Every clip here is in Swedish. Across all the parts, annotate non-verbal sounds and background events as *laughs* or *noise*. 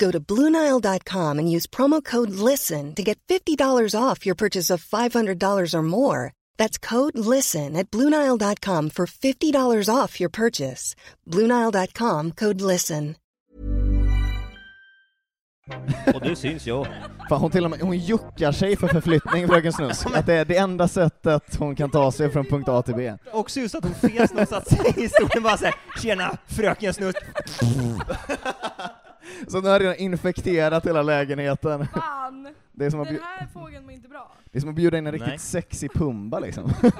Go to Bluenile.com and use promo code LISTEN to get $50 off your purchase of $500 or more. That's code LISTEN at Bluenile.com for $50 off your purchase. Bluenile.com code LISTEN. Och det syns jag. Fan, hon till och med, hon juckar sig för förflyttning, Fröken Snusk. Att det är det enda sättet hon kan ta sig från punkt A till B. Också just att hon fes när hon satt sig i stolen bara såhär ”Tjena, fröken Snusk!” Så nu har jag redan infekterat hela lägenheten. Fan! Det är som att, Den bju- här fågeln mår inte bra. det är som att bjuda in en Nej. riktigt sexy Pumba liksom. *laughs*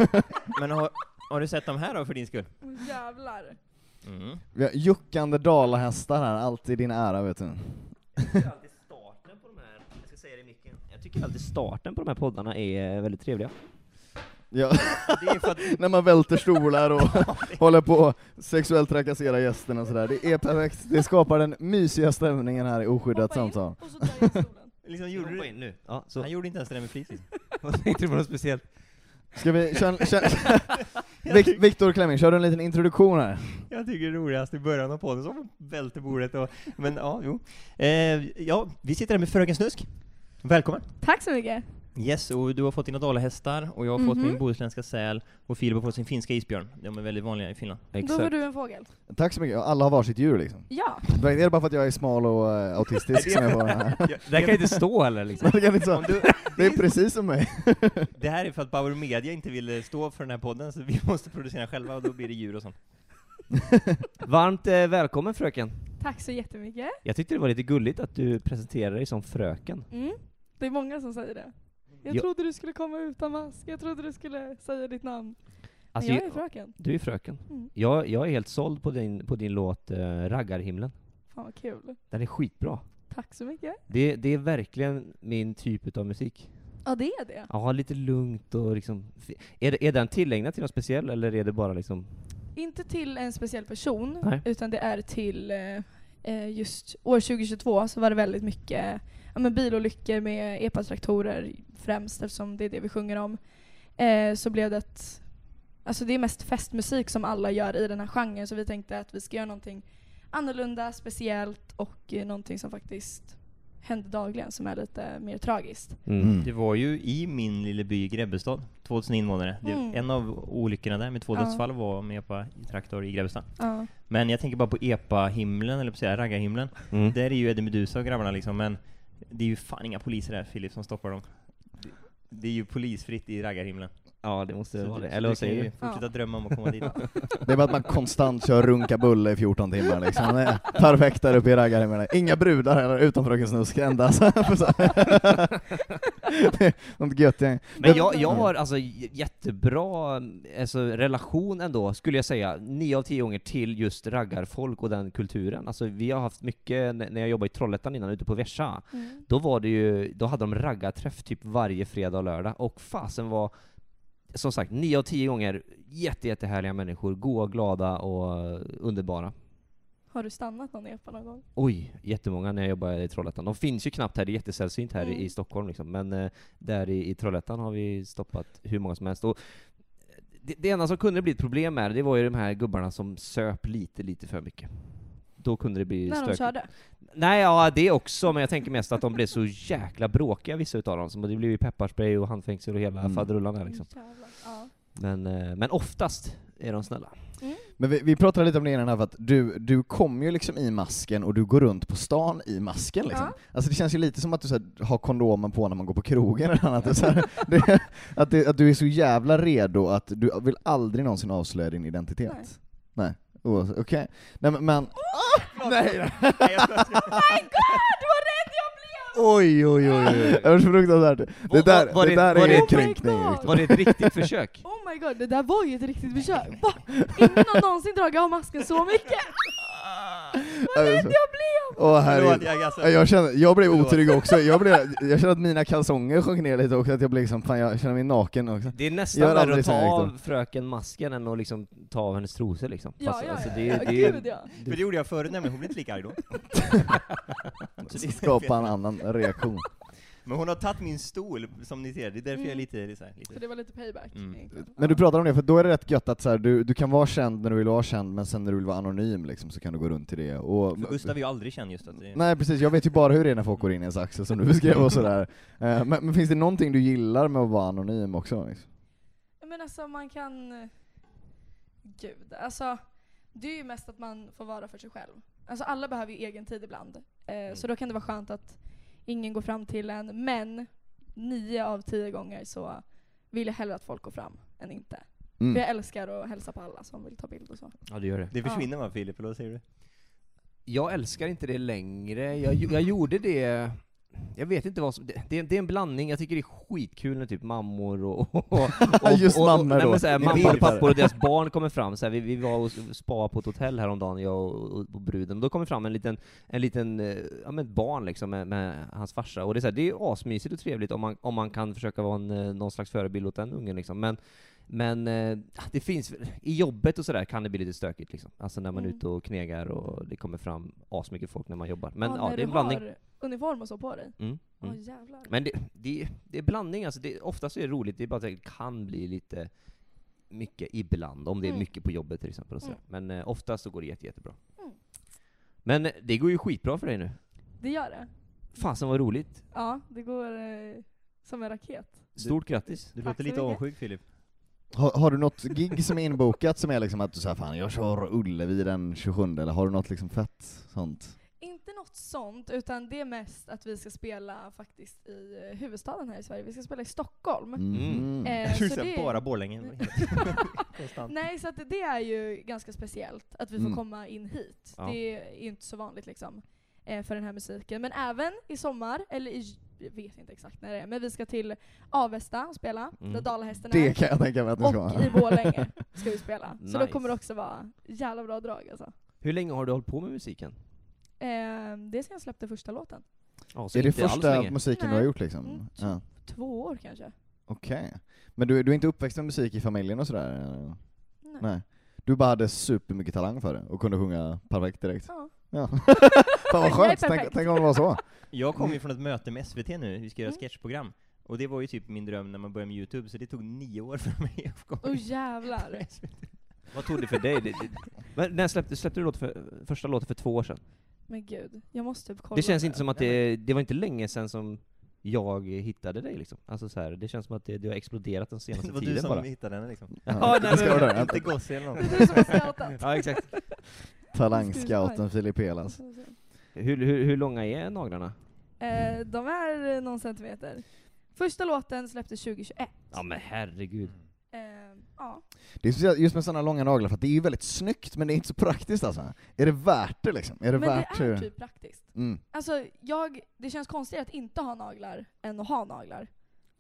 Men har, har du sett dem här då för din skull? Åh, Jävlar. Mm. Vi har juckande dalahästar här, alltid din ära vet du. alltid starten på de här, jag ska säga det i micken, jag tycker alltid starten på de här poddarna är eh, väldigt trevliga. Ja, *laughs* Det är för att liksom, när man välter stolar och håller på att sexuellt trakassera gästerna och sådär. Det är perfekt, det skapar den mysiga stämningen här i Oskyddat Hoppa in samtal. och så drar jag i stolen. liksom gjorde du... nu. Ja, så- Han gjorde inte ens det där med *laughs* flit. liksom. Vad tänkte du på något speciellt? Ska vi *laughs* köra, köra Vic- Victor Klemming, kör du en liten introduktion här? Jag tycker det roligaste i början av podden, som välte bordet och... Men ja, jo. Eh, ja, vi sitter här med Fröken Snusk. Välkommen! *laughs* Tack så mycket. Yes, och du har fått dina dalahästar, och jag har fått Mhm. min bohuslänska säl, och Filip har fått sin finska isbjörn. De är väldigt vanliga i Finland. Då får du en fågel. Tack så mycket, Ja, alla har varsitt djur liksom. Ja. Det är bara för att jag är smal och eh, autistisk som jag får den *laughs* här. Det här kan inte stå heller *laughs* liksom. Det, kan liksom, det är precis som mig. Det här är för att Bauer Media inte ville stå för den här podden, så vi *laughs* måste producera själva, och då blir det *laughs* djur och sånt. Varmt eh, välkommen fröken. Tack så jättemycket. Jag tyckte det var lite gulligt att du presenterade dig som fröken. Mm. Det är många som säger det. Jag Ja. trodde du skulle komma utan mask. Jag trodde du skulle säga ditt namn. Men Alltså, jag är fröken. du är fröken. Mm. Jag, jag är helt såld på din, på din låt eh, Raggarhimlen. Fan vad kul. Den är skitbra. Tack så mycket. Det, det är verkligen min typ av musik. Ja, det är det. Ja, lite lugnt och liksom... Är, det- är den tillägnad till något speciellt eller är det bara liksom... Inte till en speciell person, Nej. utan det är till eh, eh, just år 2022 så var det väldigt mycket ja, men bilolyckor med epatraktorer främst eftersom det är det vi sjunger om. Eh, så blev det att, alltså det är mest festmusik som alla gör i den här genren så vi tänkte att vi ska göra någonting annorlunda, speciellt och eh, någonting som faktiskt händer dagligen som är lite mer tragiskt. Mm. Det var ju i min lilla by Grebbestad, 2000 invånare. Det, Mm. En av olyckorna där med två Ja. dödsfall var med EPA-traktor i Grebbestad. Ja. Men jag tänker bara på EPA-himlen, eller på att säga raggarhimlen. Mm. Där är ju Eddie Meduza och grabbarna liksom, men det är ju fan inga poliser där Filip som stoppar dem. Det- Det är ju polisfritt i raggarhimlen. Ja, det måste Så vara du- det. så Eller du vad kan säger ju du? Fortsätta drömma om att *laughs* komma dit. Det är bara att man konstant kör runka bulle i 14 timmar liksom. Det är perfekt där uppe i raggarhimlen. Inga brudar heller, utom Fröken Snusk endast. Så- *laughs* Det är Något gött gäng. Men jag, jag har alltså j- jättebra alltså, relation ändå, skulle jag säga, nio av tio gånger till just raggarfolk och den kulturen. Alltså vi har haft mycket, n- när jag jobbade i Trollhättan innan, ute på Versa, Mm. då var det ju, då hade de raggarträff typ varje fredag och lördag, och fasen var som sagt, nio av tio gånger jätte, jättehärliga människor, goa, glada och eh, underbara. Har du stannat någon epa någon gång? Oj, jättemånga när jag jobbade i Trollhättan. De finns ju knappt här, det är jättesällsynt här i- Mm. i Stockholm liksom. Men eh, där i, i Trollhättan har vi stoppat hur många som helst. Och eh, det, det enda som kunde bli ett problem med det, det var ju de här gubbarna som söp lite, lite för mycket. Då kunde det bli När de stökigt. körde? Nej, ja det också, men jag tänker mest att de blev så jäkla bråkiga vissa utav dem. Så det blev ju pepparspray och handfängsel och hela Mm. faderullan där liksom. Mm, jävlar. Ja. Mm, Men, eh, men oftast är de snälla. Men vi, vi pratade lite om det innan här, för att du, du kom ju liksom i masken och du går runt på stan i masken liksom. Ja. Alltså det känns ju lite som att du så här, har kondomen på när man går på krogen eller annat. Det är *laughs* så här, det, att, det, att du är så jävla redo att du vill aldrig någonsin avslöja din identitet. Nej. Nej. Oh, Okej. Nej men... men *laughs* Oh nej! My god vad rädd jag blev! Oj, oj, oj. *laughs* Det var så fruktansvärt. Det där, var det det- där var är det- en kränkning. Oh my Viktor. Var det ett riktigt försök? Oh my god, det där var ju ett riktigt försök. Va? Ingen har någonsin dragit av masken så mycket. Vad rädd jag blev! Alltså, Åh Förlåt, herregud. jag, alltså, Jag, känner, jag blev Förlåt. otrygg också, jag, blev, jag kände att mina kalsonger sjönk ner lite och att jag blev liksom, fan jag känner mig naken också. Det är Jag nästan har värre aldrig att ta sagt av fröken masken än att liksom ta av hennes trosor liksom. Ja, Fast, ja, alltså, ja, det, ja, är- det, är- gud, ja. för det gjorde jag förut nämligen, hon blev inte lika arg då. Så det- Alltså, Skapa en annan reaktion. Men hon har tagit min stol, som ni ser, det är därför jag är lite så här, Så lite... det var lite payback. Mm. egentligen. Men du pratar om det, för då är det rätt gött att så här, du, du kan vara känd när du vill vara känd, men sen när du vill vara anonym liksom, så kan du gå runt i det. Och, Mm. För Gustav är ju aldrig känd just att det... Nej precis, jag vet ju bara hur det är när folk går in i en axel som du beskrev och sådär. Eh, Men, men finns det någonting du gillar med att vara anonym också? Liksom? Men alltså man kan... Gud, alltså. Det är ju mest att man får vara för sig själv. Alltså alla behöver ju egen tid ibland. Eh, Mm. Så då kan det vara skönt att ingen går fram till en. Men nio av tio gånger så vill jag hellre att folk går fram än inte. Mm. För jag älskar att hälsa på alla som vill ta bild och så. ja, det gör det. Det försvinner man Filip, eller vad säger du? Jag älskar inte det längre. Jag, gjo- jag gjorde det... Jag vet inte vad som... Det, det, är- det är en blandning. Jag tycker det är skitkul när typ mammor och... och, och, och Just mammor nej, då. men så här, Ni Mammor och bilder. pappor och deras barn kommer fram. Så här, vi, vi var och spa på ett hotell häromdagen, jag och, och, och bruden. Och då kommer fram en liten, en liten eh, ja, men ett barn liksom med, med hans farsa. Och det är, så här, det är asmysigt och trevligt om man, om man kan försöka vara en, eh, någon slags förebild åt den ungen liksom. Men men eh, det finns, i jobbet och sådär kan det bli lite stökigt liksom. Alltså när man är Mm. ute och knegar och det kommer fram asmycket folk när man jobbar. Men Men, ja, när det är en du blandning. har uniform och så på dig. Mm, Åh mm. jävlar. Men det, det, det är blandning alltså. Det, oftast är det roligt, det är bara att det kan bli lite mycket ibland, om det är Mm. mycket på jobbet till exempel. Och sådär. Men eh, oftast så går det jätte, jättebra. Mm. Men eh, det går ju skitbra för dig nu. Det gör det. Fasen vad roligt. Ja, det går eh, som en raket. Stort grattis. Du Tack låter så lite mycket. avundsjuk Filip. Har, har du något gig som är inbokat som är liksom att du säger fan jag kör Ullevi den 27 eller har du något liksom fett sånt? Inte något sånt, utan det är mest att vi ska spela faktiskt i eh, huvudstaden här i Sverige. Vi ska spela i Stockholm. Mm. Mhm. *laughs* Eh, Jag tror så så här, det- bara Borlänge. Konstant. Nej, så att det- det är ju ganska speciellt att vi får Mm. komma in hit. Ja. Det är ju inte så vanligt liksom eh, för den här musiken. Men även i sommar, eller i, jag vet inte exakt när det är, men vi ska till Avesta och spela, Mm. där Dalahästen Det är. kan jag tänka mig att ni ska Och ha. i Borlänge ska vi spela. Så då Nice. kommer det också vara jävla bra drag alltså. Hur länge har du hållit på med musiken? Eh, det är sen jag släppte första låten. Ja, så Är det inte alls första länge. musiken du har Nej. gjort liksom? Mm. Ja. Två år kanske. Okej. Men du, du är inte uppväxt med musik i familjen och sådär? Nej. Nej. Du bara hade supermycket talang för det och kunde sjunga perfekt direkt? Ja. *laughs* Ja. Fan vad Nej, skönt, perfekt. tänk, tänk om det var så. Jag kom Mm. ju från ett möte med SVT nu, vi ska göra Mm. sketchprogram. Och det var ju typ min dröm när man började med Youtube, så det tog nio år för mig att komma Oh in jävlar. *laughs* på SVT. Vad tog det för dig? Det, det, men när släppte, släppte du låt för, första låten för två år sedan? Men gud, jag måste typ kolla. Det känns inte som att det, Nej, det var inte länge sedan som jag hittade dig liksom. Alltså så här, det känns som att det, det har exploderat den *laughs* Det senaste var du tiden som bara. hittade henne liksom. Ja, nej, det ska men- vara det. Inte Gossi eller *laughs* något. Det är du som har *laughs* scoutat. Ja exakt. Talangscouten Filip Elas. Hur, hur, hur långa är naglarna? Eh, de är eh, någon centimeter. Första låten släpptes 2021. Ja men herregud. Ja. Det är speciellt just med sådana långa naglar, för att det är ju väldigt snyggt, men det är inte så praktiskt alltså. Är det värt det liksom? Är det Men det värt är hur- typ praktiskt. Mm. Alltså, jag, det känns konstigt att inte ha naglar än att ha naglar.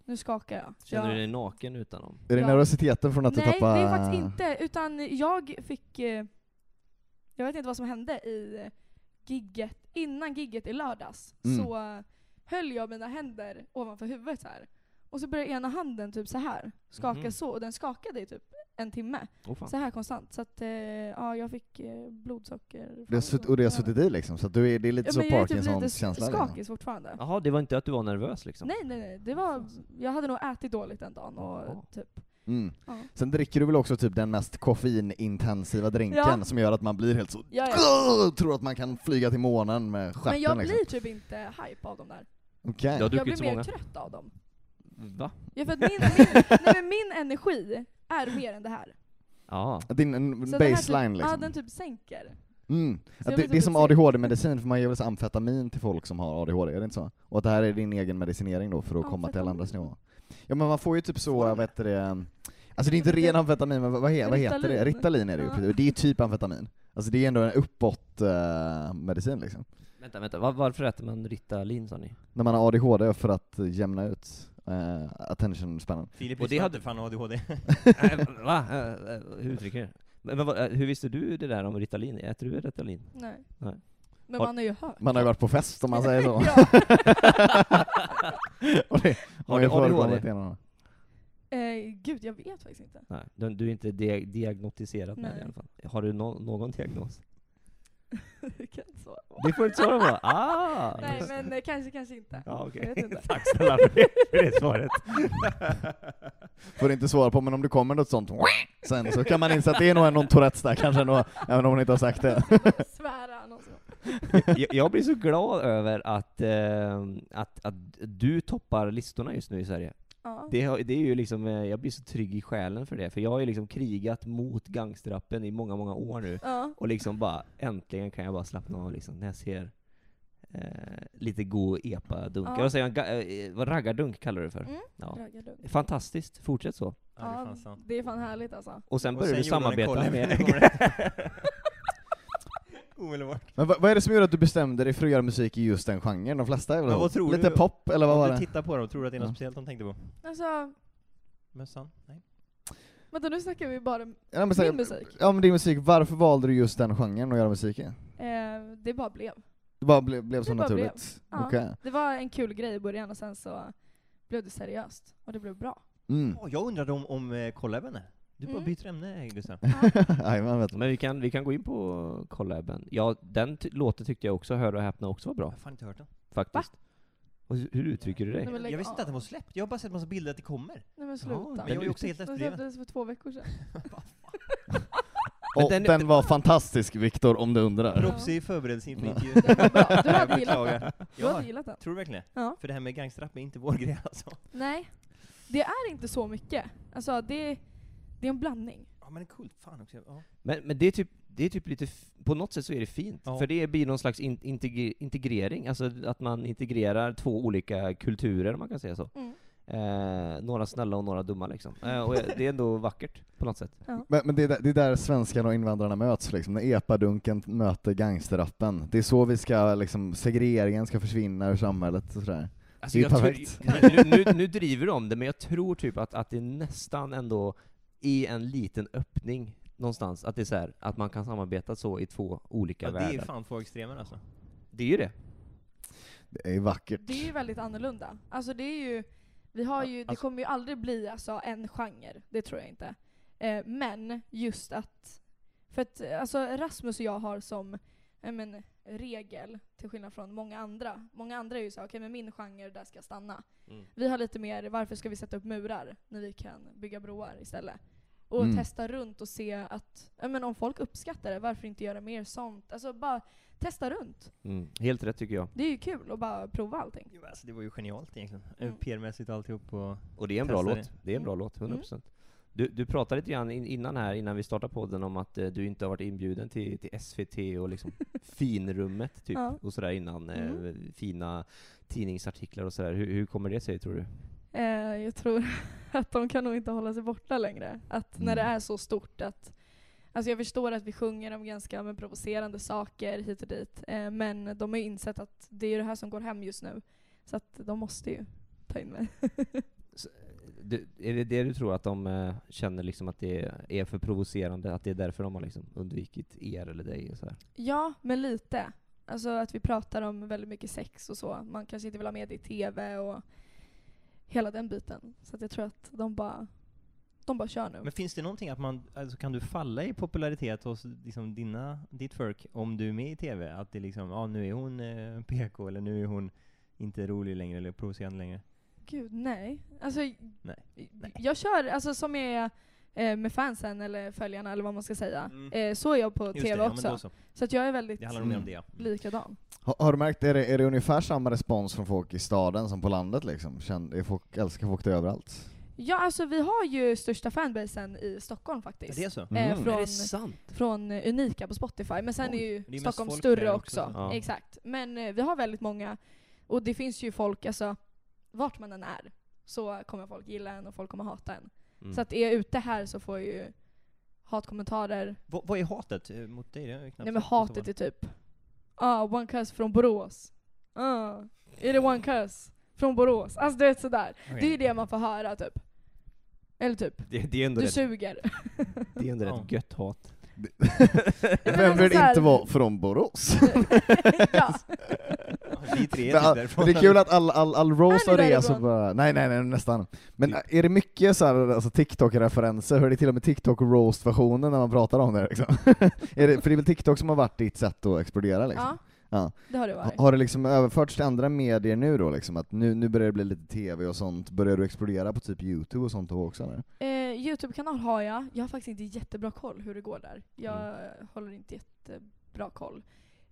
Nu skakar jag. Känner jag du dig naken utan dem? Är det Ja. nervositeten från att du Nej, tappar... det är faktiskt inte. Utan jag fick... eh, Jag vet inte vad som hände i eh, gigget. Innan gigget i lördags Mm. så eh, höll jag mina händer ovanför huvudet så här. Och så började ena handen typ så här skaka Mhm. så, och den skakade i typ en timme. Åh fan. Så här konstant. Så att eh, ja, jag fick eh, blodsocker. Det har sutt- och det har suttit i liksom, så att du är, det är lite ja, så men jag är typ lite Parkinsons-känsla. skakig liksom. fortfarande. Jaha, det var inte att du var nervös liksom? Nej nej nej, det var, jag hade nog ätit dåligt den dagen och Ja. typ. Mm. Ja. Sen dricker du väl också typ den mest koffeinintensiva drinken Ja. som gör att man blir helt så... Ja, ja. Tror att man kan flyga till månen med stjärten Men jag liksom. blir typ inte hype av dem där. Okej. Du har Jag druckit blir så mer många. trött av dem. Va? Ja, för att min, *laughs* min, nej, men min energi är mer än det här. Ja. Din en Så det här baseline typ, Ja, liksom. den typ sänker. Mm. Att jag det, blir det är typ som sänkt. ADHD-medicin, för man ger väl så amfetamin till folk som har ADHD, är det inte så? Och att det här är din egen medicinering då för att komma till alla andras Amfetamin. nivå? Ja men man får ju typ så, vad heter det, alltså det är inte ren amfetamin, men vad, vad, he- vad heter det? Ritalin. Ritalin är det ju, Ja. precis. det är ju typ amfetamin. Alltså det är ändå en uppåt-medicin liksom. Vänta, vänta. Va- Varför äter man Ritalin sa ni? När man har ADHD för att jämna ut eh, attention spannen. Filip Och det visste hade- hade fan ADHD. Eh, Va? Eh, eh, Hur uttrycker du det? Men, men, vad- eh, hur visste du det där om Ritalin? Äter du Ritalin? Nej. Nej. Men Har- man har ju hört. Man har ju varit på fest om man *laughs* säger så. *laughs* ja. Och det Har har du ju ADHD? förekommit innan. eh, gud, jag vet faktiskt inte. *laughs* Nej, du, du är inte dia- diagnostiserad med det i Nej. alla fall. Har du no- någon diagnos? Det kan inte svara på. Det får du inte svara på. Ah! *laughs* Nej, just det. men eh, kanske, kanske inte. Ja, Jag okej. vet inte. *laughs* Tack snälla för det, för det svaret. Får du inte svara på, men om det kommer något sånt *laughs* sen så *laughs* kan man inse att det är nog någon Tourettes där kanske ändå, även om hon inte har sagt det. *laughs* Svära någon som- jag, jag blir så glad över att, eh, att, att du toppar listorna just nu i Sverige. Ja. Det, har- det är ju liksom, eh, jag blir så trygg i själen för det, för jag har ju liksom krigat mot gangsterrappen i många, många år nu. Ja. Och liksom bara, äntligen kan jag bara slappna av liksom, när jag ser eh, lite god epa-dunkar. Ja. Vad säger man? Ga- eh, vad raggardunk kallar du det för? Mm. Ja. Raggarlugg. Fantastiskt, fortsätt så. Ja, det är fan Ja, sant. det är fan härligt alltså. Och sen Och börjar sen du gjorde han en samarbeta koll. *laughs* med... Omedelbart. Men vad, vad är det som gör att du bestämde dig för att göra musik i just den genren? De flesta är väl Men vad tror lite du- pop, eller vad var Om du det? tittar på dem, tror du att det är något Ja. speciellt de tänkte på? Alltså, Mössan? Nej. vänta nu snackar vi bara Ja, men så här- min musik. Ja men din musik, varför valde du just den genren att göra musik i? Eh, det bara blev. Det bara ble, blev så Det bara blev. naturligt? Ja. Okej. Det var en kul grej i början och sen så blev det seriöst. Och det blev bra. Mm. Åh, jag undrade om, om eh, collabben är. Du bara Mm. byter ämne, Gustav. *laughs* Jajamän, vet du. *laughs* Men vi kan, vi kan gå in på collaben. Ja, den ty- låten tyckte jag också, Hör och häpna, också var Jag bra har fan inte hört den. faktiskt. Och hur, hur uttrycker du dig? Nej, men lägg Jag visste inte av. att den var släppt. Jag har bara sett massa bilder att det kommer. Nej men sluta. men jag är ju också helt Den efterbliven. släpptes för två veckor *laughs* sedan. Och den- den, var fantastisk Viktor, om du undrar. Proffsig förberedelse inför Ja. *laughs* intervjun. Den var bra. Du Jag hade gillat den. beklagar. Du Ja, hade gillat den. tror du verkligen det? Ja. För det här med gangsterrap är inte vår *laughs* grej alltså. Nej. Det är inte så mycket. Alltså det, det är en blandning. Ja men det är coolt. Fan också. Ja. Men, men det är typ, det är typ lite, f- på något sätt så är det fint, Ja. för det blir någon slags in, integre, integrering, alltså att man integrerar två olika kulturer om man kan säga så. Mm. Eh, några snälla och några dumma liksom. Eh, och jag- det är ändå vackert på något sätt. Men, men det, är där, det är där svenskarna och invandrarna möts, liksom. när epadunken möter gangsterrappen. Det är så vi ska, liksom, segregeringen ska försvinna ur samhället och sådär. Alltså, Det är jag tror, *laughs* perfekt. nu, nu, nu driver de om det, men jag tror typ att, att det nästan ändå är en liten öppning någonstans, att det är så här, att man kan samarbeta så i två olika Ja, det är världar. ju fan två extremer alltså. det är ju det. Det är ju vackert. Det är ju väldigt annorlunda. Alltså det är ju, vi har ju, det Alltså- kommer ju aldrig bli alltså en genre. Det tror jag inte. Eh, men just att, för att eh, alltså Rasmus och jag har som eh, men, regel, till skillnad från många andra. Många andra är ju såhär, okej men min genre, där ska jag stanna. Mm. Vi har lite mer, varför ska vi sätta upp murar när vi kan bygga broar istället? Och Mm. testa runt och se att, ja men om folk uppskattar det, varför inte göra mer sånt? Alltså bara testa runt. Mm. Helt rätt tycker jag. Det är ju kul att bara prova allting. Jo, alltså det var ju genialt egentligen. Mm. Mm. PR-mässigt och alltihop och... Och det är en Testa bra det. låt. Det är en bra låt, 100%. Mm. Du, du pratade lite grann in, innan här, innan vi startade podden, om att eh, du inte har varit inbjuden till, till SVT och *laughs* liksom finrummet typ, Ja. och sådär innan. eh, Mm. fina tidningsartiklar och sådär. Hur, hur kommer det sig tror du? Eh, jag tror *laughs* att de kan nog inte hålla sig borta längre. Att när det Mm. är så stort att... Alltså jag förstår att vi sjunger om ganska men, provocerande saker hit och dit. Eh, men de har ju insett att det är ju det här som går hem just nu. Så att de måste ju ta in mig. *laughs* Du, är det det du tror att de eh, känner liksom att det är för provocerande? Att det är därför de har liksom undvikit er eller dig? Och så här? Ja, men lite. Alltså att vi pratar om väldigt mycket sex och så. Man kanske inte vill ha med det i TV och hela den biten. Så att jag tror att de bara, de bara kör nu. Men finns det någonting att man, alltså kan du falla i popularitet hos liksom dina, ditt folk om du är med i TV? Att det liksom, ja nu är hon eh, PK eller nu är hon inte rolig längre eller provocerande längre. Gud, nej. Alltså, nej. jag kör alltså som jag är eh, med fansen eller följarna eller vad man ska säga. Mm. Eh, Så är jag på Just TV det, ja, också. Mm. men då så. Så att jag är väldigt Det handlar mer om det. ja. Mm. likadan. Har, har du märkt, är det, är det ungefär samma respons från folk i staden som på landet liksom? Känn, är folk, älskar folk det *laughs* överallt? Ja, alltså vi har ju största fanbasen i Stockholm faktiskt. Det är så? Mm. Eh, från, sant? från eh, Unika på Spotify. Men sen Oj, är ju det är ju Stockholm mest folk större där också. också. Ja. Exakt. Men eh, vi har väldigt många. Och det finns ju folk, alltså vart man än är så kommer folk gilla en och folk kommer hata en. Mm. Så att är jag ute här så får jag ju hatkommentarer. Vad, vad är hatet eh, mot dig? Det har jag knappt Nej men sett på hatet är typ ah, one cuss från Borås. Ah, är det one cuss från Borås? Alltså du vet sådär. Okej. Det är ju det man får höra typ. Eller typ, det, det är ändå du rätt, *laughs* suger. det är ändå Ja. rätt gött hat. men Vem alltså vill så här- inte vara från Borås? ja. Ja, Vi tre är Men, typ all- därifrån. det är kul att all, all, all roast Han är och det så därifrån. bara, nej nej nej nästan. Men Typ. äh, är det mycket så här, alltså TikTok-referenser? Hör det till och med TikTok-roast-versionen när man pratar om det liksom? *laughs* är det, för det är väl TikTok som har varit ditt sätt att explodera liksom? ja, Ja. det har det Ha- varit. Har det liksom överförts till andra medier nu då liksom? Att nu, nu börjar det bli lite TV och sånt, börjar du explodera på typ YouTube och sånt då *laughs* också eller? Eh, Youtube-kanal har jag. Jag har faktiskt inte jättebra koll hur det går där. Jag Mm. håller inte jättebra koll.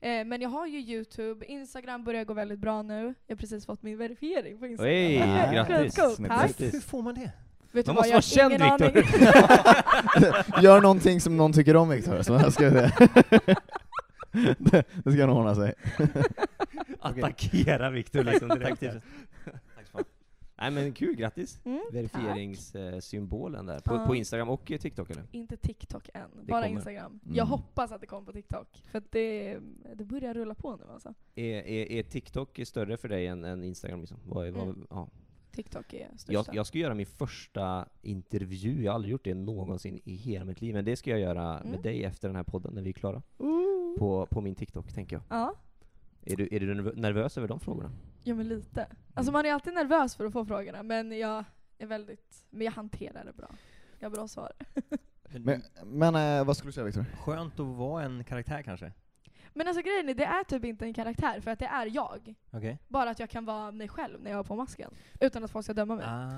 Eh, men jag har ju Youtube. Instagram börjar gå väldigt bra nu. Jag har precis fått min verifiering på Instagram. *laughs* Hej, Ah, grattis! Cool, cool. snyggt. Tack! Grattis. Hur får man det? Vet Man vad, måste vara jag har känd ingen Viktor! *laughs* aning. *laughs* Gör någonting som någon tycker om Viktor, så här ska vi säga. det, *laughs* det ska nog ordna sig. Attackera Viktor liksom direkt. *laughs* Tack, Tack så fan. Nej men kul, grattis! Mm, Verifieringssymbolen där, på, Ja. på Instagram och eh, TikTok eller? tack. Inte TikTok än, bara kommer. Instagram. Mm. Jag hoppas att det kommer på TikTok. För att det, det börjar rulla på nu alltså. Är, är, är TikTok större för dig än, än Instagram? Liksom? Vad, är- vad, Mm. ja. TikTok är största. jag, jag ska göra min första intervju, jag har aldrig gjort det någonsin i hela mitt liv, men det ska jag göra Mm. med dig efter den här podden när vi är klara. Ooh. På, på min TikTok, tänker jag. Ja. Är du, är du nervö- nervös över de frågorna? Ja men lite. Alltså man är alltid nervös för att få frågorna men jag är väldigt, men jag hanterar det bra. Jag har bra svar. Men, men eh, vad skulle du säga Viktor? Skönt att vara en karaktär kanske? Men alltså grejen är, det är typ inte en karaktär för att det är jag. Okej. Bara att jag kan vara mig själv när jag har på masken. Utan att folk ska döma mig. Ah.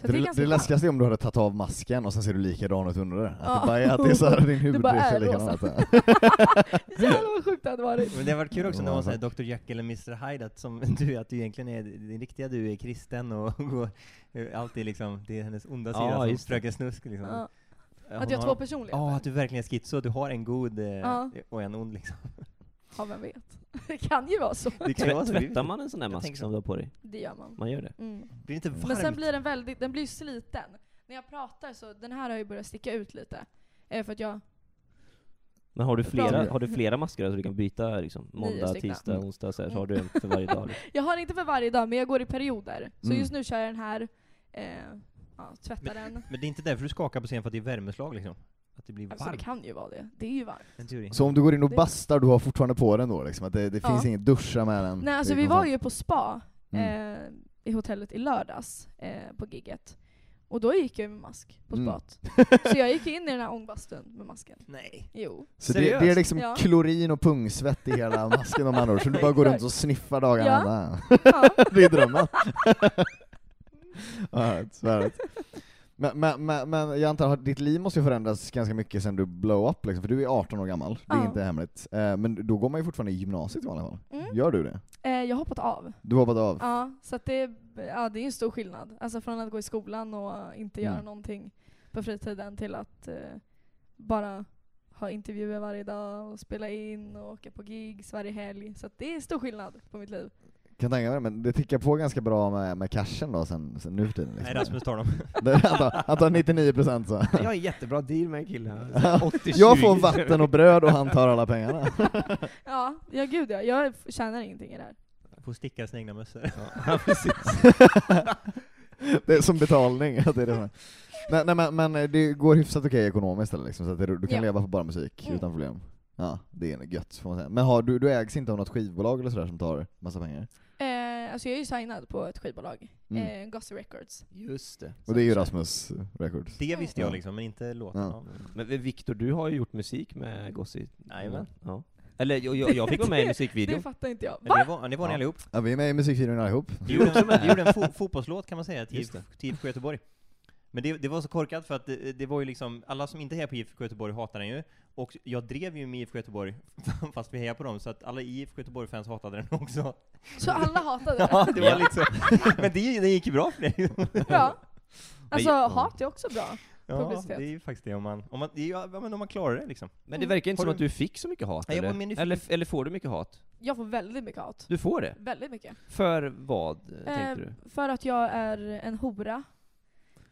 Så Det, det är det, ganska skönt. *laughs* läskigaste är om du hade tagit av masken och sen ser du likadan ut under det. Att Ja. det bara är att det är så här, din Det hud bara är ser likadan ut. rosa. Jävlar vad sjukt det *laughs* hade varit. Men det har varit kul också när man Ja, säger Dr Jekyll och Mr Hyde, att, som du, att du egentligen är, din riktiga du är kristen och *laughs* går eh, alltid liksom, det är hennes onda Ja, sida som just det. Fröken Snusk liksom. Ja. Hon Att jag har två har- personligheter. Ah. Ja, att du verkligen är schizo, du har en god eh, Ja. och en *laughs* ond liksom. Ja vem vet. *laughs* Det kan ju vara så. Det kan vara Tvä- så, vi vet Tvättar inte. man en sån där Jag mask tänker så. som du har på dig? Det gör man. Man gör det? Mm. Blir det inte varmt? Men sen blir den väldigt, den blir ju sliten. När jag pratar så, den här har ju börjat sticka ut lite. Eh, för att jag Men har du flera, Bra. har du flera masker så du kan byta liksom? Måndag, stycken. tisdag, Mm. onsdag så, här, så har du en för varje dag? liksom. Jag har inte för varje dag, men jag går i perioder. Så Mm. just nu kör jag den här, eh, ja, tvättar den. Men det är inte därför du skakar på scen, för att det är värmeslag liksom? Att det blir Alltså det varmt? Mm. kan ju vara det. Det är ju varmt. En teori. *laughs* Så om du går in och bastar, du har fortfarande på den då liksom? Att det, det Ja. finns inget duscha med den? Nej, alltså Det är vi Mm. var konstant. ju på spa eh, i hotellet i lördags, eh, på gigget. Och då gick jag ju med mask på Mm. spat. eh, Så jag gick in i den här ångbastun med masken. Nej. Jo. *laughs* Så det, det är Seriöst? liksom Ja. klorin och pungsvett i hela masken om andra ord, så du bara går runt och sniffar dagarna Ja. ända. Ja. Det är drömmen. ja, svärligt. Men, men, men, men jag antar att ditt liv måste ju förändras ganska mycket sen du blow up liksom, för du är 18 år gammal, det är Ja. inte hemligt. Eh, Men då går man ju fortfarande i gymnasiet i vanliga fall. Mm. Gör du det? Eh, jag har hoppat av. Du har hoppat av? Ja, så att det, ja, det är ju en stor skillnad. Alltså från att gå i skolan och inte göra Mm. någonting på fritiden till att eh, bara ha intervjuer *laughs* varje dag och spela in och åka på gigs varje helg. Så att det är stor skillnad på mitt liv. Kan tänka mig det, men det tickar på ganska bra med, med cashen då sen, sen nu för tiden. Nej, Liksom. Rasmus *laughs* tar dem. *laughs* Det är- Han tar- han tar 99% så. Jag har en jättebra deal med en kille. Ja. 80-20. *laughs* Jag får vatten och bröd och han tar alla pengarna. Ja, ja gud ja. Jag f- tjänar ingenting i det här. Får sticka sina egna mössor. Ja, precis. *laughs* Det är som betalning. *laughs* att Det är det som är. nej, nej, men, men det går hyfsat okej ekonomiskt eller liksom, så att det, du kan Ja. leva på bara musik Mm. utan problem. Ja, det är gött får man säga. Men har, du, du ägs inte av något skivbolag eller sådär som tar massa pengar? Eh, alltså jag är ju signad på ett skivbolag, Mm. eh, Gossy Records. Just det. och det är ju Rasmus Records. *laughs* Det visste Ja. jag liksom, men inte låten. Ja. Men Viktor, du har ju gjort musik med Gossi. Jajamän. Ja. Eller jag, jag, jag fick vara med i Det musikvideon. fattar inte jag. Men Va? det var, det var ni Ja. allihop. Ja, vi är med i musikvideon allihop. Vi gjorde en, vi gjorde *laughs* en fo fotbollslåt kan man säga till Just det. IFK till IFK Göteborg. Men det, det var så korkat för att det, det var ju liksom, alla som inte hejar på IFK Göteborg hatar den ju. Och jag drev ju med IFK Göteborg *laughs* fast vi hejade på dem, så att alla IFK Göteborg-fans hatade den *laughs* också. Så alla hatade *laughs* det? Ja, det var lite så. *laughs* Men det, det gick ju bra *laughs* för dig. Ja. Alltså Men- hat är också bra. Ja, det Publicitet. är ju faktiskt det om man, om man, ja, men om man klarar det liksom. Men det verkar inte Har som du- att du fick så mycket hat, Nej, jag eller? var mer nyfiken. eller? Eller får du mycket hat? Jag får väldigt mycket hat. Du får det? Väldigt mycket. För vad, eh, Eh, tänkte du? för att jag är en hora.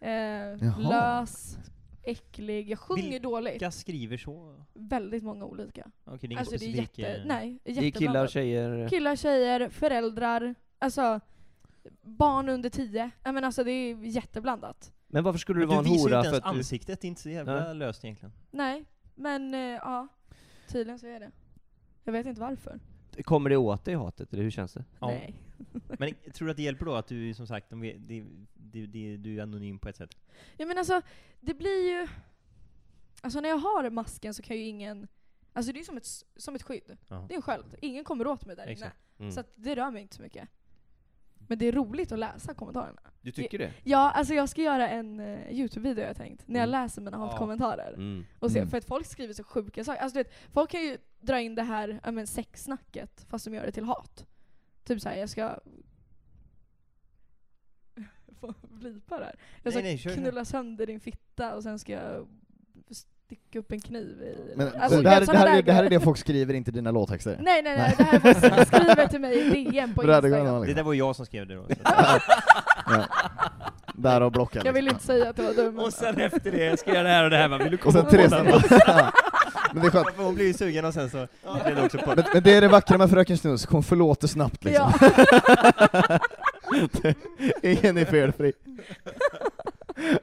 Eh, Jaha. lös, äcklig. Jag sjunger Vilka- dåligt. Vilka skriver så? Väldigt många olika. Okej, det är ingen Alltså det är specifik... jätte... eh, Nej, Det är killar och jätteblandat. tjejer? Killar, tjejer, föräldrar, alltså barn under tio. Nej men alltså det är jätteblandat. Men varför skulle du Du vara en visar ju hora inte för ens att du... ansiktet, det är inte så jävla Nej. löst egentligen. Nej, men eh, ja. Tydligen så är det. Jag vet inte varför. Kommer det åt dig hatet, eller hur känns det? Ja. Nej. Men tror du att det hjälper då att du som sagt, de, vet- det- det- det- du är anonym på ett sätt? Jag menar alltså, det blir ju... Alltså när jag har masken så kan ju ingen... Alltså det är ju som ett, s- som ett skydd. Ja. Det är en sköld. Ingen kommer åt mig där inne. Exakt. Mm. Så att det rör mig inte så mycket. Men det är roligt att läsa kommentarerna. Du tycker det? Ja, alltså jag ska göra en eh, Youtube-video har jag tänkt. När jag Mm. läser mina Ja. hatkommentarer. Mm. Och se, Mm. För att folk skriver så sjuka saker. Alltså, du vet, folk kan ju dra in det här ja, men sexsnacket fast de gör det till hat. Typ såhär, jag ska... *laughs* Får blipa det här. Jag ska Nej, nej, kör, kör. knulla sönder din fitta och sen ska jag sticka upp en kniv i... Men Alltså, det, här, såna det, här, där är- det här är grejer. det folk skriver, inte dina låttexter. Nej nej nej, det här är folk *laughs* som skriver till mig i DM på För det hade kunnat *laughs* Instagram. vara Det liksom. där var jag som skrev det *laughs* då. Därav blocken. Jag vill liksom. inte säga att det var dumt. Och sen efter det, jag ska göra det här och det här, *laughs* va? vill du Och komma sen Therese. *laughs* Ja. Men det är skönt. Hon blir ju sugen och sen så blev det också på. Men, men det är det vackra med Fröken Snusk, hon förlåter snabbt liksom. Ja. Ingen *laughs* är felfri.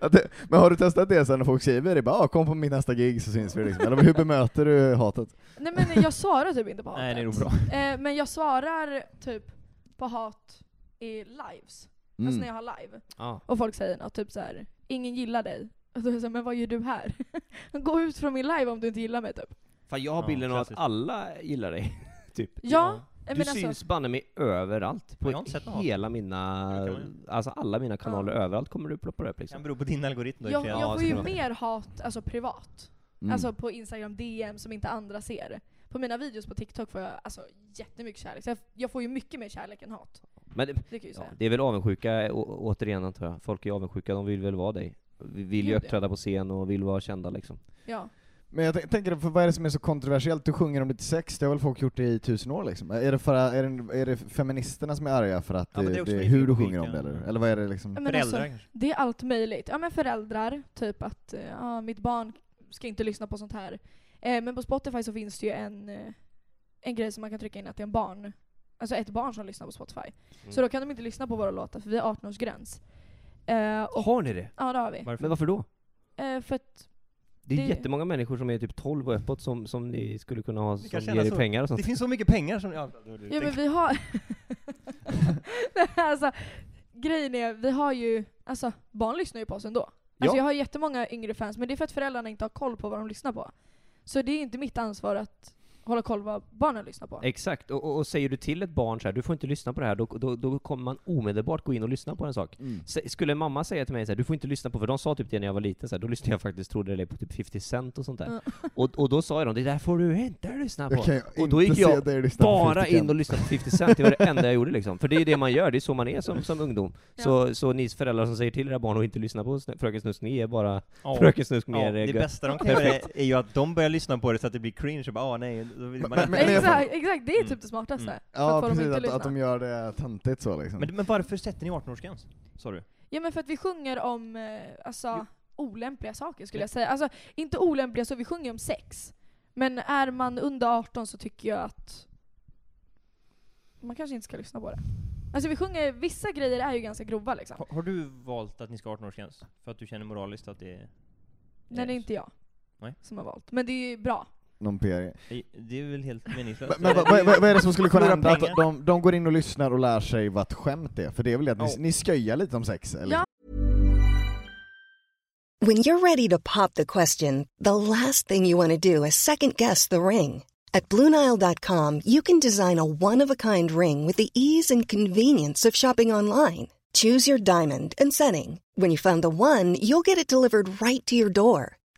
Att det- Men har du testat det sen när folk skriver det? Bara, ah, kom på min nästa gig så syns vi liksom. Eller hur bemöter du hatet? Nej men jag svarar typ inte på hatet. Nej, det är nog bra. Eh, men jag svarar typ på hat i lives. Mm, Alltså när jag har live. Ja. Och folk säger något typ så här. ingen gillar dig. Och då är jag så här, men vad gör du här? *laughs* Gå ut från min live om du inte gillar mig typ. Fan jag har Ja, bilden av att klassiskt. alla gillar dig, typ. Ja, men Du alltså, syns banne mig överallt, på Jag har inte sett något. hela mina, Det kan man alltså alla mina kanaler, överallt kommer du ploppa upp Det kan liksom. bero på din algoritm då i och jag, för Ja, sig. jag får det ju kan vara. mer hat alltså privat. Mm. Alltså på Instagram DM som inte andra ser. På mina videos på TikTok får jag alltså jättemycket kärlek. Så jag, jag får ju mycket mer kärlek än hat. Men det- Det kan jag ju ja, säga. det är väl avundsjuka, å, återigen antar jag. Folk är avundsjuka, de vill väl vara dig. Vi- Vill ju Gud, ja. uppträda på scen och vill vara kända liksom. Ja. Men jag t- tänker, för vad är det som är så kontroversiellt? Du sjunger om lite sex, det har väl folk gjort i tusen år liksom? Är det, för, är det, är det feministerna som är arga för att Ja, det, men det är det, också är min hur du fråga, sjunger om det vilka- eller? Eller vad är det liksom? Men alltså, Föräldrar kanske. Det är allt möjligt. Ja men föräldrar, typ att eh, ja, mitt barn ska inte lyssna på sånt här. Eh, men på Spotify så finns det ju en, eh, en grej som man kan trycka in att det är en barn, alltså ett barn som lyssnar på Spotify. Så då kan de inte lyssna på våra låtar för vi har 18-årsgräns. Eh, och, Har ni det? ja det har vi. Varför? Men varför då? Eh, för att, Det är Det- jättemånga människor som är typ 12 och uppåt som, som ni skulle kunna ha, som kanske ger är er så. pengar och sånt. Det finns så mycket pengar som... Ja, det var det du ja men tänkte. vi har... *laughs* Nej, alltså, grejen är, vi har ju, alltså barn lyssnar ju på oss ändå. Ja. Alltså jag har jättemånga yngre fans men det är för att föräldrarna inte har koll på vad de lyssnar på. Så det är inte mitt ansvar att hålla koll på vad barnen lyssnar på. Exakt, och, och, och säger du till ett barn så här, du får inte lyssna på det här, då, då, då kommer man omedelbart gå in och lyssna på en sak. Mm. Sä- Skulle mamma säga till mig så här, du får inte lyssna på, för de sa typ det när jag var liten, så här, då lyssnade jag faktiskt, trodde det på typ 50 cent och sånt där. Mm. Och, och då sa de, det där får du inte lyssna på. Jag kan ju och då gick inte jag se dig lyssna på bara 50 in och lyssna på 50 Cent, det var det enda jag gjorde liksom. För det är ju det man gör, det är så man är som, som ungdom. Så, så ni föräldrar som säger till era barn att inte lyssna på Snö- Fröken Snusk, ni är bara Ja. Fröken Snusk Ja, mer det ja, bästa de kan göra är ju att de börjar lyssna på det så att det blir cringe och bara ah, nej, då vill man Men- inte- men- det är fan- exakt, exakt, det är Mm. typ det smartaste. Mm. För att Ja få dem precis, inte att, lyssna. att de gör det töntigt så liksom. men, men varför sätter ni 18-årsgräns? Sa du? Ja men för att vi sjunger om eh, alltså, olämpliga saker skulle jag säga. Alltså inte olämpliga så, vi sjunger om sex. Men är man under 18 så tycker jag att man kanske inte ska lyssna på det. Alltså vi sjunger, vissa grejer är ju ganska grova liksom. Har, har du valt att ni ska ha 18-årsgräns? För att du känner moraliskt att det är... Nej det är inte jag Nej. som har valt. Men det är ju bra. Någon PR. Det är väl helt meningslöst? Men, men vad, vad, vad är det som skulle kunna Stora hända? Att pengar. de, de går in och lyssnar och lär sig vad ett skämt är? För det är väl det att ni, Ja. ni sköjar lite om sex? Eller? Ja. When you're ready to pop the question, the last thing you want to do is second guess the ring. At Bluenile.com, you can design a one of a kind ring with the ease and convenience of shopping online. Choose your diamond and setting. When you find the one, you'll get it delivered right to your door.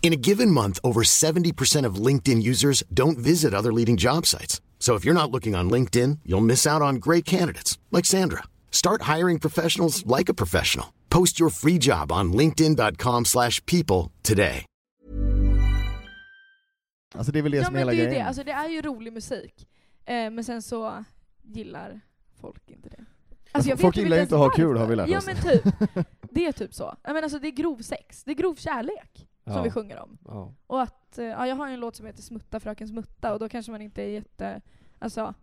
In a given month, over 70% of LinkedIn users don't visit other leading job sites. So if you're not looking on LinkedIn, you'll miss out on great candidates like Sandra. Start hiring professionals like a professional. Post your free job on linkedin.com/people slash people today. Alltså det är väl det Ja som men är det hela är ju det, grejen? alltså det är ju rolig musik. Eh, men sen så gillar folk inte det. Alltså, folk vet typ gillar ju ens inte att ha kul, varför. har vi lärt Ja oss. men typ. *laughs* Det är typ så. Jag menar, alltså, det är grov sex, det är grov kärlek som vi sjunger om. Ja. Och att, eh, ja, jag har ju en låt som heter Smutta fröken smutta och då kanske man inte är jätte, alltså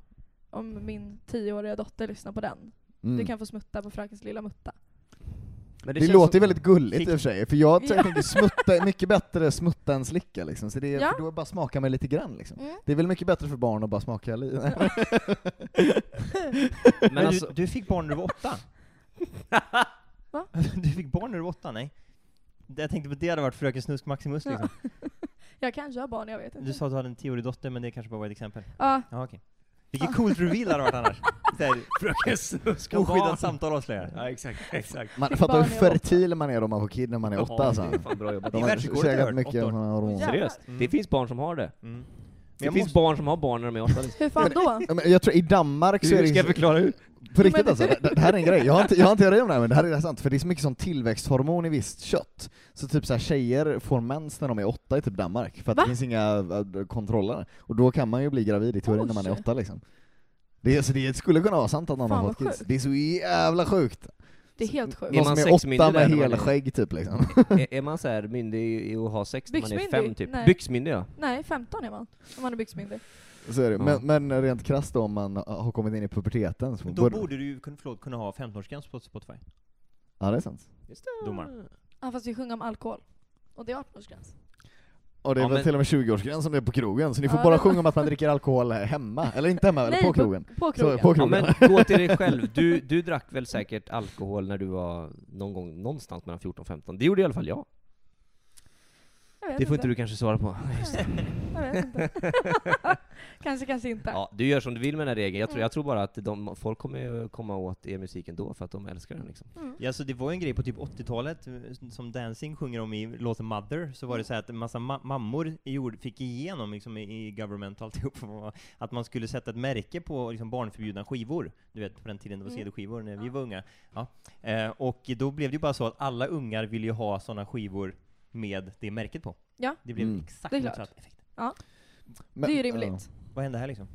om min tioåriga dotter lyssnar på den. Mm. Du kan få smutta på frökens lilla mutta. Men Det, känns låter som- ju väldigt gulligt Fick- i och för sig, för jag Ja. tänker smutta, är mycket bättre smutta än slicka liksom, så det är, Ja. för då bara smaka med lite grann liksom. Mm. Det är väl mycket bättre för barn att bara *laughs* smaka *laughs* lite? Men, Men alltså, du, du fick barn när du var åtta? *laughs* Va? *laughs* Du fick barn när du var åtta? Nej. Det- Jag tänkte på det hade varit Fröken Snusk Maximus liksom. Jag kanske har barn, jag vet inte. Du sa att du hade en tioårig dotter, men det kanske bara var ett exempel. Ja, Ja, okej. Vilket coolt reveal det hade varit annars. Såhär, *laughs* Fröken Snusk och barn. Oskyddat samtal avslöjar. Ja, exakt, exakt. Man Fick fattar hur barn när jag var fertil man är om man får kid när man är åtta alltså. Ja, det är fan bra jobbat. De I har världsrekordet har jag säkert hört, mycket åtta år. sådana Åh, hormoner. jävlar. Seriöst, det finns barn som har det. Mm. Det jag finns måste- barn som har barn när de är åtta. *laughs* liksom. hur fan *laughs* då? Ja, men Jag tror i Danmark så är det... förklara hur? På riktigt Men- alltså, det, det här är en grej. Jag har, inte, jag har en teori om det här, men det här är sant, för det är så mycket som tillväxthormon i visst kött. Så typ så här, tjejer får mens när de är åtta i typ Danmark, för att Va? det finns inga äh, kontroller. Och då kan man ju bli gravid i teorin när Oh, man är Oj. åtta liksom. Det, är- så det skulle kunna vara sant att någon Fan, har vad fått kids. sjukt. Det är så jävla sjukt! Det är helt sjukt. Är Någon man som är sexmyndig åtta där när med man är- helskegg typ liksom. *laughs* Är, är man så här myndig i att ha sex när man är Byxmyndig? fem typ? Nej. Byxmyndig ja. Nej, 15 är man. Om man är byxmyndig. Så är det. Ja. Men, men rent krasst då, om man har kommit in i puberteten så Men Då borde du ju kunna, förlåt, kunna ha 15-årsgräns på Spotify. Ja det är sant. Domaren. Ja fast vi sjunger om alkohol. Och det är 18-årsgräns. Och det är Ja, väl men- till och med 20-årsgräns som det är på krogen, så ni får Ja, bara det- sjunga om att man dricker alkohol hemma, eller inte hemma, eller Nej, på krogen. På, på Så, krogen. på ja krogen. men gå till dig själv. Du, du drack väl säkert alkohol när du var någon gång, någonstans mellan 14 och 15? Det gjorde i alla fall jag. Jag vet Det får inte du kanske svara *laughs* på. Jag vet inte. kanske, kanske inte. Ja, du gör som du vill med den här regeln. Jag tror, jag tror bara att de, folk kommer ju komma åt er musik ändå för att de älskar den liksom. Mm. Ja, så det var ju en grej på typ 80-talet eh, som Dancing sjunger om i låten Mother, så var det så här att en massa ma- mammor gjorde, fick igenom liksom, i i government och alltihop, *laughs* att man skulle sätta ett märke på liksom, barnförbjudna skivor. Du vet, på den tiden det var Mm. CD-skivor när vi var unga. Ja. Eh, och då blev det ju bara så att alla ungar ville ju ha sådana skivor med det märket på. Ja. Det blev Mm. exakt Det är klart. motsatt effekt. Men- det är ju rimligt. Vad hände här liksom?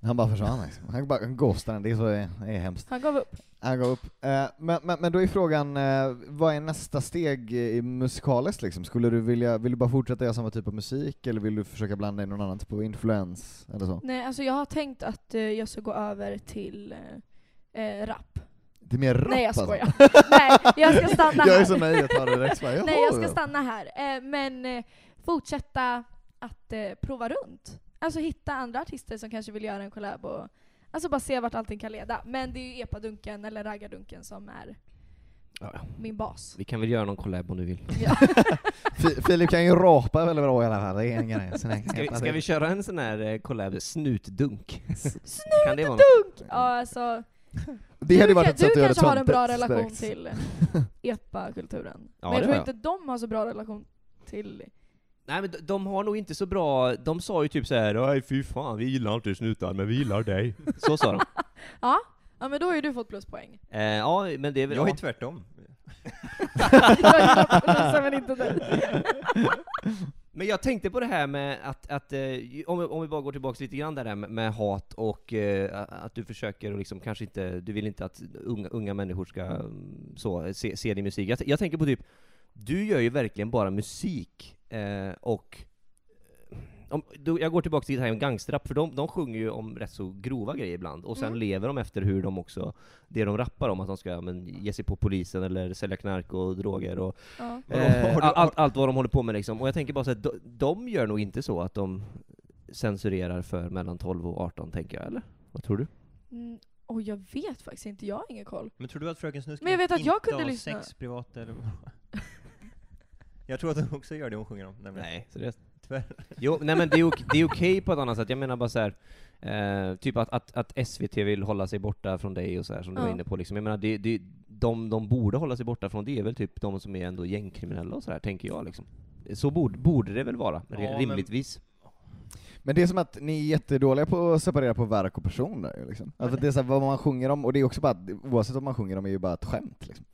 Ja. Han bara försvann liksom. Han bara ghostade den, det är så det är hemskt. Han gav upp. Han gav upp. Eh, Men, men, men då är frågan, eh, vad är nästa steg i musikaliskt liksom? Skulle du vilja, vill du bara fortsätta göra samma typ av musik, eller vill du försöka blanda in någon annan typ av influens, eller så? Nej, alltså jag har tänkt att eh, jag ska gå över till eh, eh, rap. Det är mer rap Nej jag alltså. *laughs* skojar. Nej, jag ska stanna här. Jag är så nöjd, jag tar det direkt. Bara, *laughs* Nej jag ska jaha. stanna här. Eh, men eh, fortsätta att eh, prova runt. Alltså hitta andra artister som kanske vill göra en collab och alltså bara se vart allting kan leda. Men det är ju epadunken eller raggardunken som är Ja, ja. min bas. *laughs* Vi kan väl göra någon collab om du vill. Fi- Filip kan ju rapa väldigt bra i alla fall, det är en grej. Sen är- Ska vi, ska vi köra en sån här eh, collab, snutdunk? Kan det vara något? Snutdunk! Ja, alltså, Det hade ju du, varit kan- ett sätt att du göra ett kanske har en sånt bra direkt. relation *laughs* till epakulturen. Ja, Men jag det tror har inte de har så bra relation till... Nej men de, de har nog inte så bra, de sa ju typ så här, nej fy fan vi gillar inte snutar men vi gillar dig. Så sa de. Ja, ja men då har ju du fått pluspoäng. *laughs* Eh, ja men det är väl... Jag är ja. tvärtom. jag *laughs* *laughs* gillar polisen men inte *laughs* dig. Men jag tänkte på det här med att, att eh, om, vi- om vi bara går tillbaka lite grann där med, med hat och eh, att du försöker och liksom kanske inte, du vill inte att unga, unga människor ska mm, så, se, se din musik. Jag, t- jag tänker på typ, du gör ju verkligen bara musik eh, och eh, om, då, jag går tillbaka till det här med gangsterrap, för de, de sjunger ju om rätt så grova grejer ibland, och sen Mm. lever de efter hur de också, det de rappar om, att de ska ja, men, ge sig på polisen eller sälja knark och droger och Ja. Har Eh, du- allt, allt vad de håller på med liksom. Och jag tänker bara så här, de, de gör nog inte så att de censurerar för mellan 12 och 18, tänker jag, eller? Vad tror du? Mm, och jag vet faktiskt inte, jag har ingen koll. Men tror du att Fröken Snusk Men jag vet att inte jag kunde har lyssna. sex privat eller vad? *laughs* Jag tror att hon också gör det hon sjunger om, nämligen. Nej, seriöst? *laughs* Tyvärr. Jo, nej men det är, ok- det är okej på ett annat sätt. Jag menar bara så här, eh, typ att, att, att SVT vill hålla sig borta från dig och så här som du Ja. var inne på liksom. Jag menar, det, det, de, de borde hålla sig borta från det är väl typ de som är ändå gängkriminella och så här, tänker jag liksom. Så borde, borde det väl vara, Ja, re- men- rimligtvis. Men det är som att ni är jättedåliga på att separera på verk och person där ju, liksom. Alltså det är så här, vad man sjunger om, och det är också bara, att- oavsett vad man sjunger om är ju bara ett skämt liksom.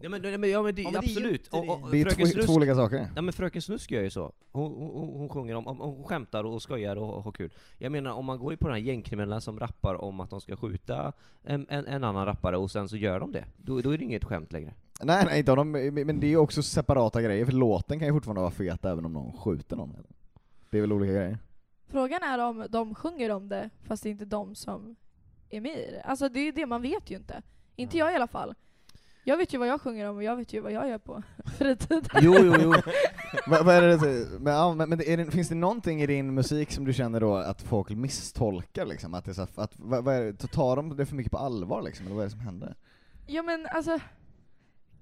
Ja men, ja, men, ja, men det, Ja, men det är ju absolut. inte det. Och- och Det är Fröken två, Snusk- två olika saker. Ja men Fröken Snusk gör ju så. Hon, hon, hon- hon sjunger om, om, hon skämtar och skojar och, och har kul. Jag menar om man går ju på den här gängkriminella som rappar om att de ska skjuta en, en, en annan rappare och sen så gör de det. Då, då är det inget skämt längre. Nej, nej, inte av dem, men det är också separata grejer, för låten kan ju fortfarande vara fet även om någon skjuter någon. Eller? Det är väl olika grejer? Frågan är om de sjunger om det fast det är inte de som är med i det. Alltså det är ju det, man vet ju inte. Inte jag i alla fall. Jag vet ju vad jag sjunger om och jag vet ju vad jag gör på *laughs* fritiden. Jo, jo, jo. Vad vad är det, du- men, ja, men, men är det, finns det någonting i din musik som du känner då att folk misstolkar liksom? Att det är så här, att, vad, vad är det, tar de det för mycket på allvar liksom, eller vad är det som händer? Ja men alltså,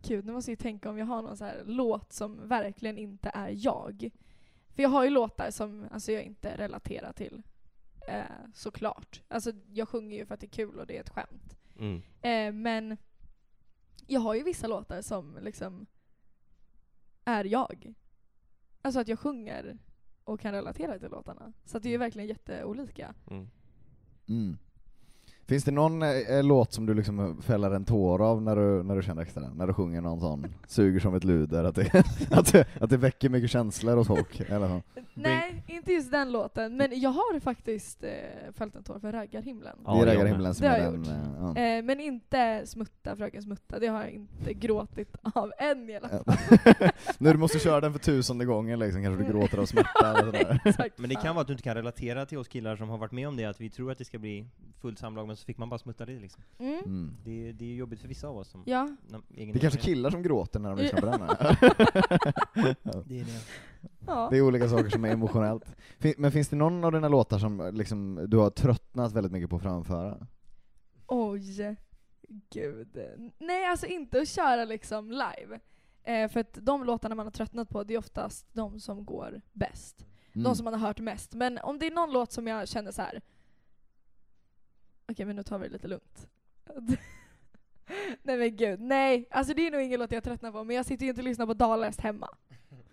gud nu måste jag ju tänka om jag har någon så här låt som verkligen inte är jag. För jag har ju låtar som alltså, jag inte relaterar till, eh, såklart. Alltså jag sjunger ju för att det är kul och det är ett skämt. *laughs* Mm. Eh, men jag har ju vissa låtar som liksom är jag. Alltså att jag sjunger och kan relatera till låtarna. Så att det är ju Mm. verkligen jätteolika. Mm. Mm. Finns det någon eh, eh, låt som du liksom fäller en tår av när du, när du känner extra? När du sjunger någon sån, suger som ett luder, att det, *laughs* att det, att det väcker mycket känslor hos folk? Eller så. Nej, inte just den låten. Men jag har faktiskt eh, fällt en tår för Raggarhimlen. Ja, det är jag Raggar med. himlen som Det har är jag den... gjort. eh, ja. Eh, men inte smutta, Fröken Smutta. Det har jag inte gråtit av än i alla fall. Eh, *laughs* När du måste köra den för tusende gången liksom, kanske Mm. du gråter av smärta eller *laughs* sådär. Exakt. *laughs* Men det kan vara att du inte kan relatera till oss killar som har varit med om det, att vi tror att det ska bli fullt samlag, men så fick man bara smutta det liksom. Mm. Mm. Det, det är ju jobbigt för vissa av oss som... Ja. na- egen Det är kanske erfarenhet. killar som gråter när de lyssnar på den här. *laughs* *laughs* Det är det. ja. Det är olika saker som är emotionellt. Fin- Men finns det någon av dina låtar som liksom, du har tröttnat väldigt mycket på att framföra? Oj. Gud. Nej, alltså inte att köra liksom live. Eh, för att de låtarna man har tröttnat på, det är oftast de som går bäst. Mm. De som man har hört mest. Men om det är någon låt som jag känner så här. Okej, men nu tar vi det lite lugnt. *laughs* Nej men gud, nej. Alltså det är nog ingen låt jag tröttnar på, men jag sitter ju inte och lyssnar på Dalhäst hemma.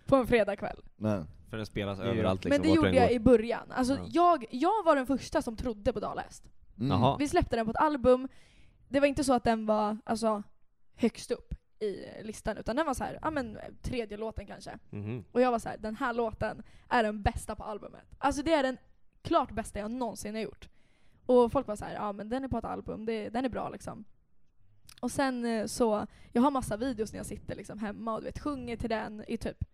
På en fredagkväll. Nej. För den spelas Det är ju- överallt liksom. men det vart du gjorde än jag går. i början. Alltså Ja. jag, jag var den första som trodde på Dalhäst. Mm. Jaha. Vi släppte den på ett album. Det var inte så att den var alltså, högst upp i listan, utan den var så här, ja men tredje låten kanske. Mhm. Och jag var så här, den här låten är den bästa på albumet. Alltså det är den klart bästa jag någonsin har gjort. Och folk var så här, ja men den är på ett album, det, den är bra liksom. Och sen eh, så, jag har massa videos när jag sitter liksom hemma och du vet sjunger till den i typ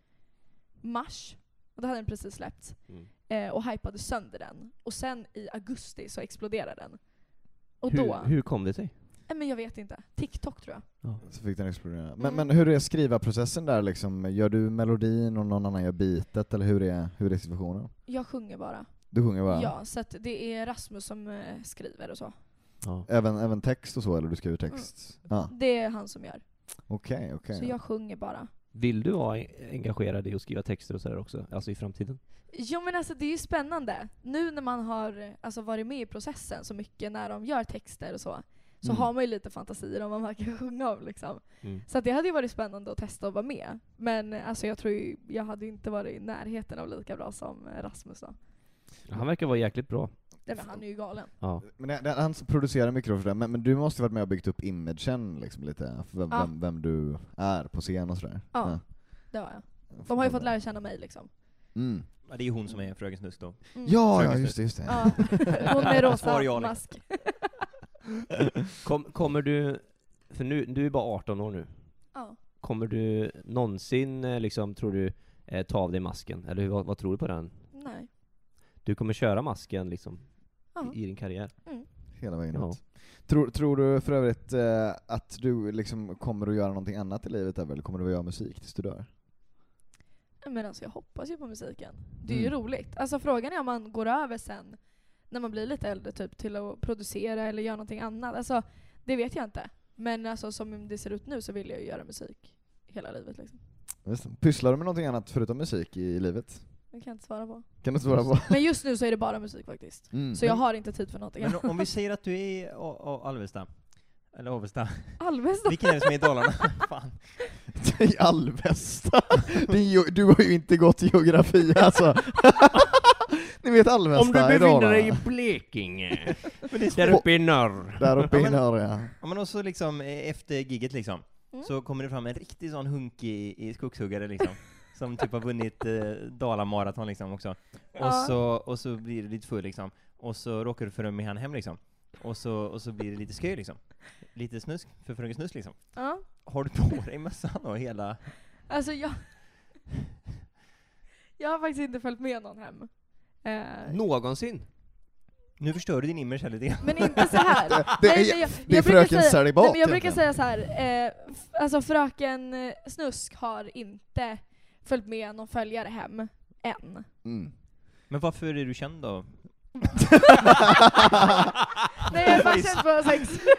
mars. Och då hade den precis släppts. Mm. Eh, och hypade sönder den. Och sen i augusti så exploderade den. Och Hur, då, hur kom det sig? nej men jag vet inte, TikTok tror jag. Så fick den explodera. Men, Mm. men hur är skrivarprocessen där liksom? Gör du melodin och någon annan gör beatet, eller hur är, hur är situationen? Jag sjunger bara. Du sjunger bara? Ja, så att det är Rasmus som eh, skriver och så. Även, även text och så, eller du skriver text? Ja. Det är han som gör. Okej, okej. Mm. Så jag sjunger bara. Vill du vara en- engagerad i att skriva texter och sådär också? Alltså i framtiden? Jo men alltså det är ju spännande. Nu när man har alltså, varit med i processen så mycket när de gör texter och så, så Mm. har man ju lite fantasier om vad man kan *laughs* sjunga om liksom. Så att det hade ju varit spännande att testa och vara med. Men alltså jag tror ju, jag hade ju inte varit i närheten av lika bra som eh, Rasmus då. Han verkar vara jäkligt bra. Nej men han är ju galen. Ja. Men det- det- han producerar mycket då för det, men, men du måste ju varit med och byggt upp imagen liksom lite, för vem, Ja. vem, vem du är på scen och sådär. Ja. Det har jag. De har ju fått lära känna mig liksom. Mm. Ja, det är ju hon som är fröken Snusk då. Mm. Ja, ja, Fröken just det, just det. *laughs* Ja. Hon med Svar ja, rosa liksom. mask. Kom, kommer du, för nu, du är bara 18 år nu, Ja. kommer du någonsin eh, liksom, tror du, eh, ta av dig masken? Eller hur- vad, vad tror du på den? Nej. Du kommer köra masken liksom, Ja. i, i din karriär? Mm. Hela vägen Ja. ut. Tror, tror du för övrigt eh, att du liksom kommer att göra någonting annat i livet Evel? Kommer du att göra musik tills du dör? Men alltså jag hoppas ju på musiken. Det är ju Mm. roligt. Alltså frågan är om man går över sen när man blir lite äldre typ till att producera eller göra någonting annat. Alltså det vet jag inte. Men alltså som det ser ut nu så vill jag ju göra musik hela livet liksom. Just det. Pysslar du med någonting annat förutom musik i, i livet? Det kan jag inte svara på. Kan du svara på? Men just nu så är det bara musik faktiskt. Mm. Så jag har inte tid för någonting *laughs* Men *laughs* annat. om vi säger att du är i A- A- Alvesta, eller Avesta, Alvesta! vilken är det som är i Dalarna? *laughs* Fan. *laughs* I Alvesta! Din ge- du har ju inte gått geografi alltså. *laughs* Ni vet Alvesta i Dalarna. Blekinge, Men det *laughs* är där uppe i norr. Där uppe Ja, i men- norr ja. Ja men också liksom eh, efter gigget liksom, Mm. så kommer det fram en riktig sån hunkig i skogshuggare liksom. *laughs* Som typ har vunnit eh, Dalamaraton liksom också. Och Ja. så, och så blir du lite full liksom. Och så råkar du följa med han hem liksom. Och så, och så blir det lite sköj liksom. Lite snusk, för fröken Snusk liksom. Ja. Har du på *laughs* dig mössan och hela... Alltså jag... Jag har faktiskt inte följt med någon hem. *laughs* Eh, Någonsin? Nu förstör du din image här lite grann. Men inte så här. Det är- Nej, men jag- det är jag brukar fröken säga- Celibat Nej, men Jag brukar säga egentligen. så här. Eh, f- alltså fröken eh, Snusk har inte följt med någon följare hem än. Mm. Men varför är du känd då? Nej jag har *laughs* bara känt på sex. *laughs*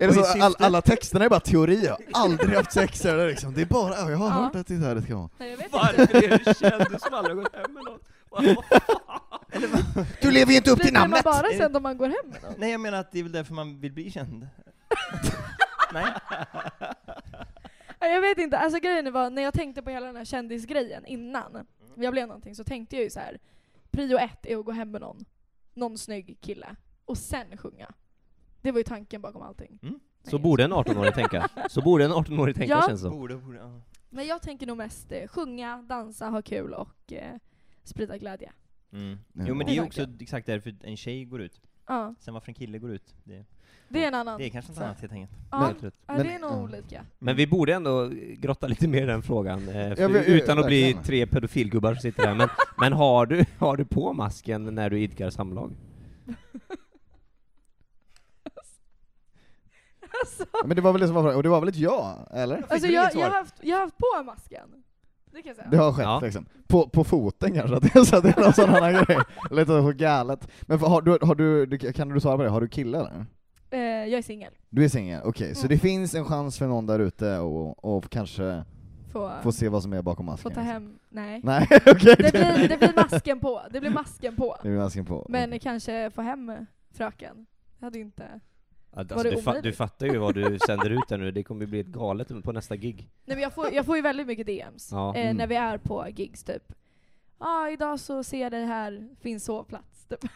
Är det så Och i att all, syfte- alla texterna är bara teori? Jag har aldrig haft sex eller liksom. Det är bara, ja, jag har Ja. hört att det är så här det ska vara. Nej, jag vet inte. Varför är du känd? Du som aldrig har gått hem med någon. Du lever ju inte upp Blir till man namnet! bara känd om man går hem med någon? Nej jag menar att det är väl därför man vill *laughs* bli känd? Nej? Nej, Jag vet inte, alltså grejen var när jag tänkte på hela den här kändisgrejen innan jag blev någonting så tänkte jag ju så här. prio ett är att gå hem med någon, någon snygg kille, och sen sjunga. Det var ju tanken bakom allting. Mm. Så borde en 18-åring *laughs* tänka. Så borde en 18-åring tänka Ja. känns det som. Borde, borde, ja. Men jag tänker nog mest eh, sjunga, dansa, ha kul och eh, sprida glädje. Mm. Ja. Jo men det är ju Exakt, också exakt därför en tjej går ut. Ja, Sen varför en kille går ut, det, det är en annan. det är kanske något Så. annat helt enkelt. ja, Men- ja, det är men- nog ja. olika. Men vi borde ändå grotta lite mer i den frågan, eh, för, Ja, men, eh, utan att bli verkligen. tre pedofilgubbar som sitter här. Men, men har, du, har du på masken när du idkar samlag? Men det var väl det som var frågan, och det var väl ett ja, eller? Alltså du jag, inget svar? jag, har haft, jag har haft på masken. Det kan jag säga. Det har skett Ja. liksom. På, på foten kanske, att det är så att det är någon sån annan grej. Lite så galet. Men för, har, du, har du, du, kan du svara på det, har du kille eller? Eh, jag är singel. Du är singel, okej. Så Mm. det finns en chans för någon där ute och, och kanske Får, få se vad som är bakom masken? får ta liksom. hem... Nej. *laughs* Nej, okej. Det blir, det blir masken på. Det blir masken *laughs* på. Det blir masken på. Men kanske få hem fröken. Jag hade inte... Alltså, Var det du, fa- omöjligt? du fattar ju vad du sänder ut där nu, det kommer ju bli ett galet på nästa gig. Nej men jag får, jag får ju väldigt mycket DMs. Ja. Eh, Mm. När vi är på gigs typ. Ja, ah, idag så ser jag dig här, finns sovplats. Typ. *laughs*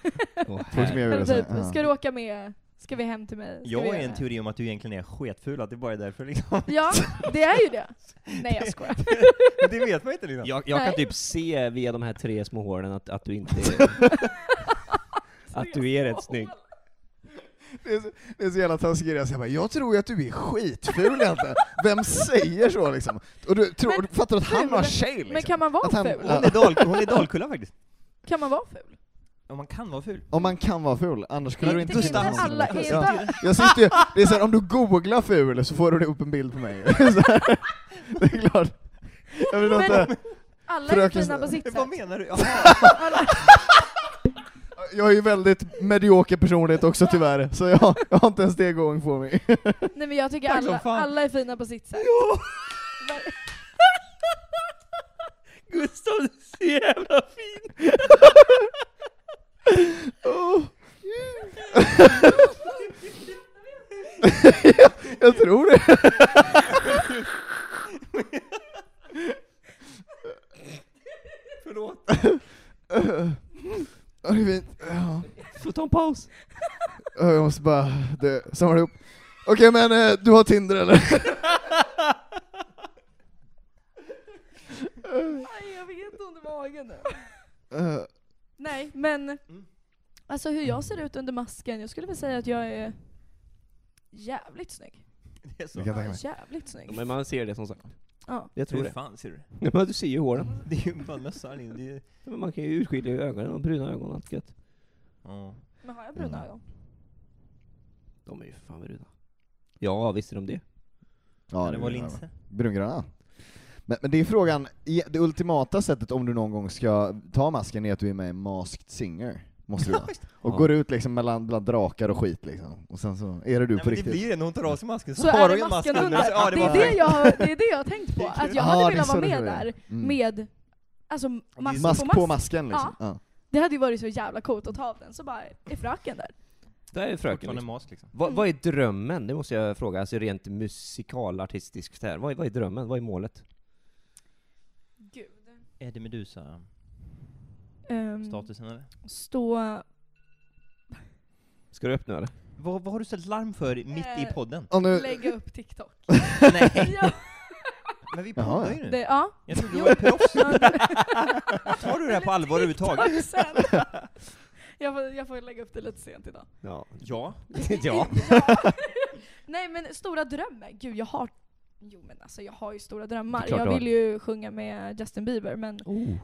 Åh, Folk som jag Eller gjorde så här, typ, ska ja. du åka med? Ska vi hem till mig? Ska Jag vi har göra en det? teori om att du egentligen är sketful, att det bara är därför liksom. *laughs* Ja, det är ju *laughs* det. Nej jag skojar. Men det vet man inte liksom. Jag, jag kan Nej. typ se via de här tre små håren att, att du inte *laughs* är... att du är rätt snygg. Det är så, det är så jävla taskig grej, jag, bara, jag tror ju att du är skitful egentligen. Vem säger så liksom? Och du tror, Men du fattar att han ful- var tjej liksom? Men kan man Att vara han- ful? Hon är, dal, hon är Dalkulla faktiskt. Kan man vara ful? Ja, man kan vara ful. Om man kan vara ful, annars skulle Inte- du inte... inte vara någon alla- som är inte- ful. Ja, jag sitter ju, det är så här, om du googlar ful så får du upp en bild på mig. *laughs* Så här. det är klart. Jag vill Men- inte... Alla är *laughs* Fröken- fina på sitt sätt. menar du? Ja, Alla, jag är ju väldigt medioker personlighet också tyvärr, så jag, jag har inte ens det going for me. Nej men jag tycker Tack som alla, fan. alla är fina på sitt sätt. Ver- Gustav, du är så jävla *laughs* fin! jag, *laughs* jag tror det. Förlåt. Ja, det är fint. Ja. Får ta en *laughs* paus? Ja, Jag måste bara dö. samla ihop. Okej men eh, du har Tinder eller? Aj, jag fick inte ont i magen nu. Eh, Nej men, Mm. alltså hur jag ser ut under masken, jag skulle väl säga att jag är jävligt snygg. *laughs* Det är så. jag kan tänka mig. Jävligt snygg. Men man ser det som sagt. Ja. Jag tror Hur det. fan ser du? Ja, men du ser ju håren. Det är ju bara mössa Linn. Det är... Men man kan ju urskilja ögonen, och bruna ögon, allt gött. ja. Men har jag bruna ögon? De är ju för fan bruna. Ja, visst är de det. Ja, Det var är bra. linse. Brungröna. Men, men det är frågan, i- det ultimata sättet om du någon gång ska ta masken är att du är med i Masked Singer. Måste du *laughs* vara. Och Ja. går ut liksom mellan, bland drakar och skit liksom. Och sen så är det du på Nej, men det riktigt. blir det när hon tar av sig masken. Så är har hon det en masken mask under. Så- Ja, det det, var är det, jag, det är det jag har *laughs* tänkt på, att jag Ja, det hade är velat så vara det med tror jag. där. Mm. Med, alltså mask, Mask på på mask. masken liksom. Ja. Det hade ju varit så jävla coolt att ta av den, så bara är fröken där. Där är fröken. fortfarande Liksom. mask liksom. Mm. Vad, vad är drömmen? Det måste jag fråga, alltså rent musikalartistiskt här. Vad, är- vad är drömmen? Vad är målet? Gud. Eddie Mm. Meduza-statusen eller? Ehm, stå... Ska du öppna eller? Vad, vad har du ställt larm för mitt i Eh, podden? Och nu, *laughs* Lägga upp TikTok. Nej, ja, men vi Jaha, poddar ja. ju det, nu. ja. Jag trodde du *laughs* var proffs. Ja, det- Tar du det här på allvar överhuvudtaget? TikTok sen. *laughs* jag, får, jag får lägga upp det lite sent idag. Ja. Ja. *laughs* ja. *laughs* Nej men stora drömmar, gud jag har Jo men alltså jag har ju stora Det drömmar. är klart Jag du har. Oh. vill ju sjunga med Justin Bieber men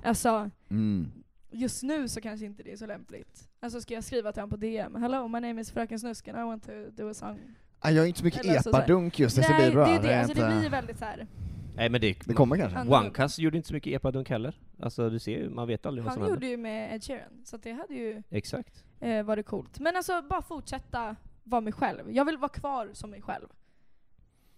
alltså mm. just nu så kanske inte det är så lämpligt. Alltså ska jag skriva till honom på DM? Hello my name is Fröken Snusken, I want to do a song. Ah, jag är inte så mycket Eller alltså så såhär. epadunk just, det så Nej blir det bra. är det, alltså det inte- blir ju väldigt såhär, Nej men det... det kommer kanske. Han- Onecuss gjorde inte så mycket epadunk heller. Alltså du ser ju, man vet aldrig vad som han händer. gjorde ju med Ed Sheeran så att det hade ju Exakt. eh, varit coolt. Men alltså bara fortsätta vara mig själv. Jag vill vara kvar som mig själv.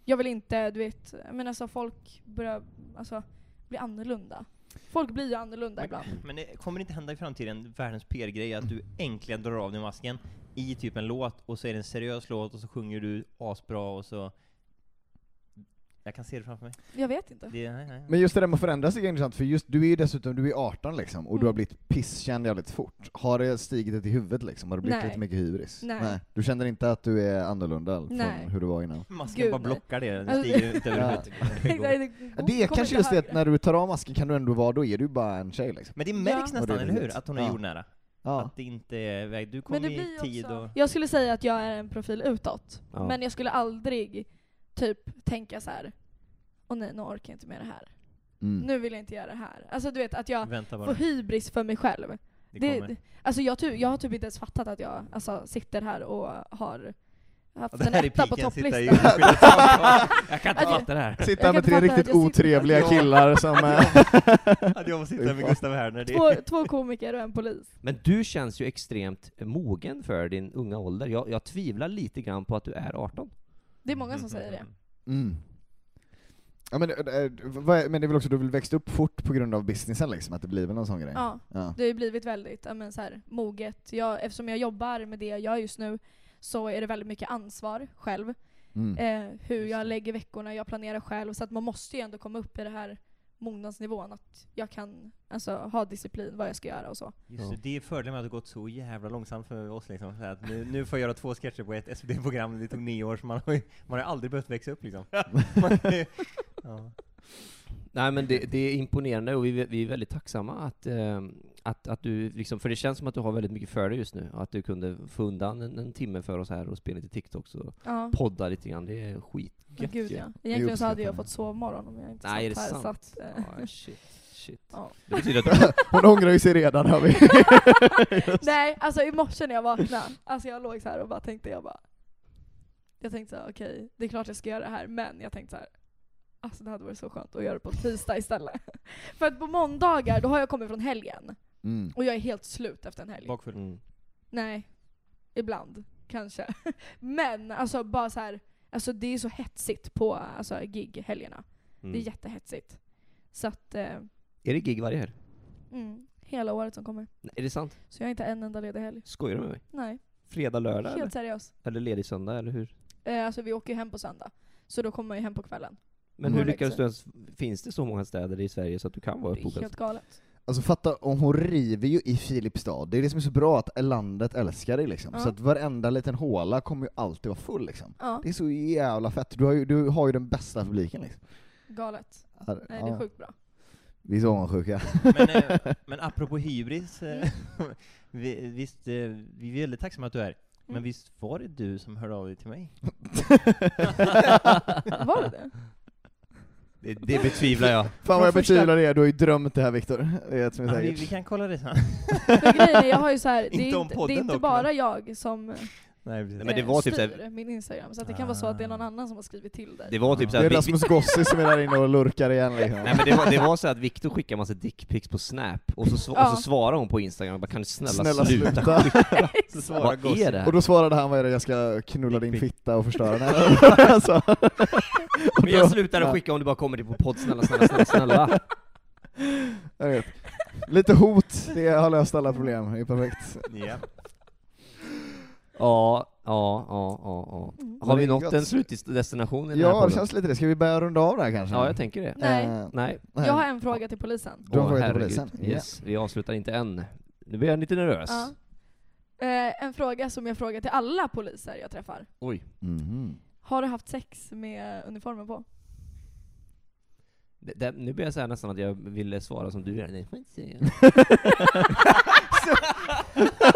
Jag vill inte, du vet, men alltså folk börjar alltså, bli annorlunda. Folk blir ju annorlunda ibland. Men det kommer inte hända i framtiden, världens PR-grej, att du äntligen drar av dig masken i typ en låt, och så är det en seriös låt, och så sjunger du asbra, och så... Jag kan se det framför mig. Jag vet inte. Det, nej, nej. Men just det där med att förändras är intressant, för just du är ju dessutom, du är 18 liksom, och du Mm. har blivit pisskänd jävligt fort. Har det stigit ett i huvudet liksom? Har det blivit Nej. lite mycket hybris? Nej. Du känner inte att du är annorlunda Nej. från hur du var innan? Masken Gud, bara nej. blockar det, det Alltså- stiger ut över Ja. *laughs* huvudet. Ja, Det är kanske just det att när du tar av masken kan du ändå vara, då är du bara en tjej liksom. Men det märks Ja. nästan, eller hur? Att hon är Ja. jordnära. Ja. Att det inte är väg. Du Men kom det i blir ju tid och... också, jag skulle säga att jag är en profil utåt. Ja. Men jag skulle aldrig typ tänka så här. åh nej, nu orkar jag inte med det här. Mm. Nu vill jag inte göra det här. Alltså du vet, att jag Vänta får bara, hybris för mig själv. det Det, kommer. alltså jag, ty- jag har typ inte ens fattat att jag alltså, sitter här och har haft Ja, det en här är etta på piken, sitta i topplistan. urskillnings- *laughs* Jag kan inte Alltså- fatta det här. Sitta Jag med kan tre fatta att riktigt jag sitter- *laughs* otrevliga Ja. killar som... eh, Att jag får sitta här med Gustav Herner, det Två, två komiker och en polis. Men du känns ju extremt mogen för din unga ålder. Jag, jag tvivlar lite grann på att du är 18. Det är många som säger det. Mm. Ja, men, eh, eh, vad är- men det är väl också, du vill växt upp fort på grund av businessen liksom, att det blir väl någon sån grej? Ja, Ja. det har ju blivit väldigt ja, men så här, moget. Jag, eftersom jag jobbar med det jag gör just nu så är det väldigt mycket ansvar själv. Mm. Eh, hur jag lägger veckorna, jag planerar själv. Så att man måste ju ändå komma upp i det här mognadsnivån. Att jag kan alltså, ha disciplin vad jag ska göra och så. Just det, det är fördelen med att det gått så jävla långsamt för oss liksom. Så att nu, nu får jag göra två sketcher på ett SVT-program, det tog nio år, så man har, ju, man har aldrig behövt växa *laughs* upp liksom. Man, *laughs* ja. Nej men det, det är imponerande och vi, vi är väldigt tacksamma att, eh, att, att du liksom, för det känns som att du har väldigt mycket för dig just nu. Och att du kunde få undan en, en timme för oss här och spela lite TikToks och Ja. podda lite grann. Det är skitgött Gud ju. ja. Egentligen så hade uppskattar jag det. fått sovmorgon om jag inte Nej, är det satt här. sant? Så att, eh, Ja, *laughs* shit, shit. Ja. Det betyder att du... *laughs* Hon ångrar ju sig redan *laughs* hör vi. *laughs* Nej, alltså i morse när jag vaknade, alltså jag låg så här och bara tänkte jag bara Jag tänkte så här, okej, det är klart jag ska göra det här, men jag tänkte så här Alltså det hade varit så skönt att göra det på tisdag istället. *laughs* För att på måndagar, då har jag kommit från helgen. Mm. Och jag är helt slut efter en helg. Bakfull. Mm. Nej. Ibland. Kanske. *laughs* Men alltså bara så här, alltså det är så hetsigt på alltså, gig-helgerna. Mm. Det är jättehetsigt. Så att, eh, Är det gig varje helg? mm, hela året som kommer. Nej, Är det sant? Så jag har inte en enda ledig helg. Skojar du med mig? Nej, Fredag, lördag eller? helt seriöst. eller ledig söndag, eller hur? Eh, alltså vi åker ju hem på söndag. Så då kommer jag ju hem på kvällen. Men Mm. hur lyckades du ens, finns det så många städer i Sverige så att du kan vara Det är uppbokad? helt galet. Alltså fatta, om hon river ju i Filipstad, det är det som är så bra att landet älskar dig liksom. Ja. Så att varenda liten håla kommer ju alltid vara full liksom. Ja, Det är så jävla fett, du har ju, du har ju den bästa publiken liksom. galet. Ja, Nej, det är ja. sjukt bra. Vi är så avundsjuka. *laughs* Men, eh, men apropå hybris, eh, *laughs* vi, visst, eh, vi är väldigt tacksamma att du är här. Men Mm. visst var det du som hörde av dig *laughs* till mig? *laughs* Var det det? Det, det betvivlar jag. Fan vad jag Från första- betvivlar det, du har ju drömt det här Viktor. Det är ett som är Ja, vi, säkert. vi kan kolla *laughs* det sen. *laughs* För grejen är, jag har ju så här, det Inte är om inte, det podden är inte dock, bara men- jag som eh, Nej, precis. Nej, men det var typ så här- Ah. styr min Instagram, så att det kan vara så att det är någon annan som har skrivit till dig. Det var typ Ja. Det är såhär, vi, Rasmus Gossi som är där inne och lurkar igen liksom. nej men det var, det var så att Viktor skickade massa dickpics på Snap, och så, sv- Ja. och så svarade hon på Instagram och bara 'Kan du snälla, Snälla sluta sluta. *laughs* skicka?' Så svarar Vad är gossen. det här? Och då svarade han vad är det jag ska knulla din Dick pic. fitta och förstöra den? *laughs* *laughs* alltså, Men jag slutar att skicka om du bara kommer till på podd, snälla, snälla, snälla, snälla. jag vet. Lite hot, det har löst alla problem, det är perfekt. Ja. Ja, ja, ja, ja, Mm. ja. Har Men vi det är nått gott. en slutdestination i den här Ja, podden? det känns lite det. Ska vi börja runda av det här kanske? Ja, jag tänker det. Nej, Eh, Nej. nej. jag har en fråga till polisen. Du har Åh, frågat till herregud. polisen. Yes, vi avslutar inte än. Nu blir jag lite nervös. Ja. Eh, en fråga som jag frågar till alla poliser jag träffar. Oj. Mhm. Har du haft sex med uniformen på? Det, det, nu börjar jag säga nästan att jag ville svara som du gör. Nej, får inte säga. *laughs*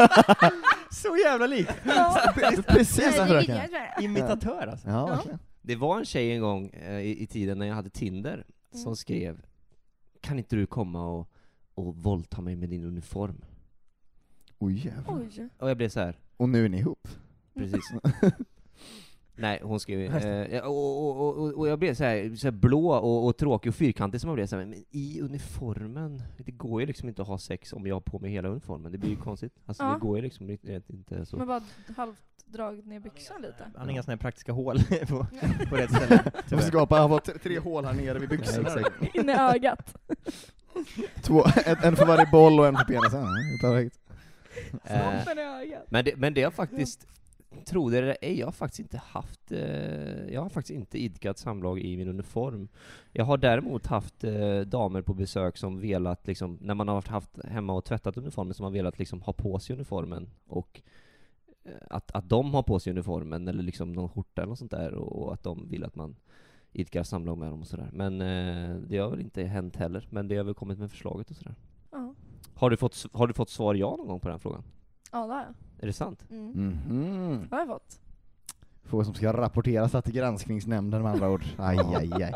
Så jävla lik! *laughs* Precis den fröken. Imitatör alltså. Ja, verkligen. Det var en tjej en gång eh, i, i tiden när jag hade Tinder som Mm. skrev Kan inte du komma och, och våldta mig med din uniform? Oj jävlar. Oj. Och jag blev så här. Och nu är *laughs* ni ihop. Precis. Nej, hon skrev ju, eh, ja, och, och, och- och, och jag blev så här, så här blå och, och tråkig och fyrkantig som jag blev så här, men i uniformen, det går ju liksom inte att ha sex om jag har på mig hela uniformen, det blir ju konstigt. Alltså Ja. det går ju liksom inte, inte så. Men bara halvt dragit ner byxan *laughs* lite. *laughs* Han har inga såna här praktiska hål *laughs* på, på rätt ställe. Du måste skapa, han har t- tre hål här nere vid byxorna. Nej, exakt. In i ögat. Två, en, en för varje boll och en för penisen. Ja, det är Perfekt. Eh, Snoppen i ögat. men, det, men det har faktiskt, tro det eller ej, jag har faktiskt inte haft, eh, jag har faktiskt inte idkat samlag i min uniform. Jag har däremot haft eh, damer på besök som velat, liksom, när man har varit haft hemma och tvättat uniformen, som har velat liksom, ha på sig uniformen. Och eh, att, att de har på sig uniformen, eller liksom någon skjorta eller något sånt där, och, och att de vill att man idkar samlag med dem och sådär. Men eh, det har väl inte hänt heller, men det har väl kommit med förslaget och sådär. Ja, Har du fått, s- har du fått svar ja någon gång på den frågan? ja det har jag. Är det sant? Mm. Mhm. Har jag fått? Frågor som ska rapporteras till granskningsnämnden med andra ord. Aj, aj, aj.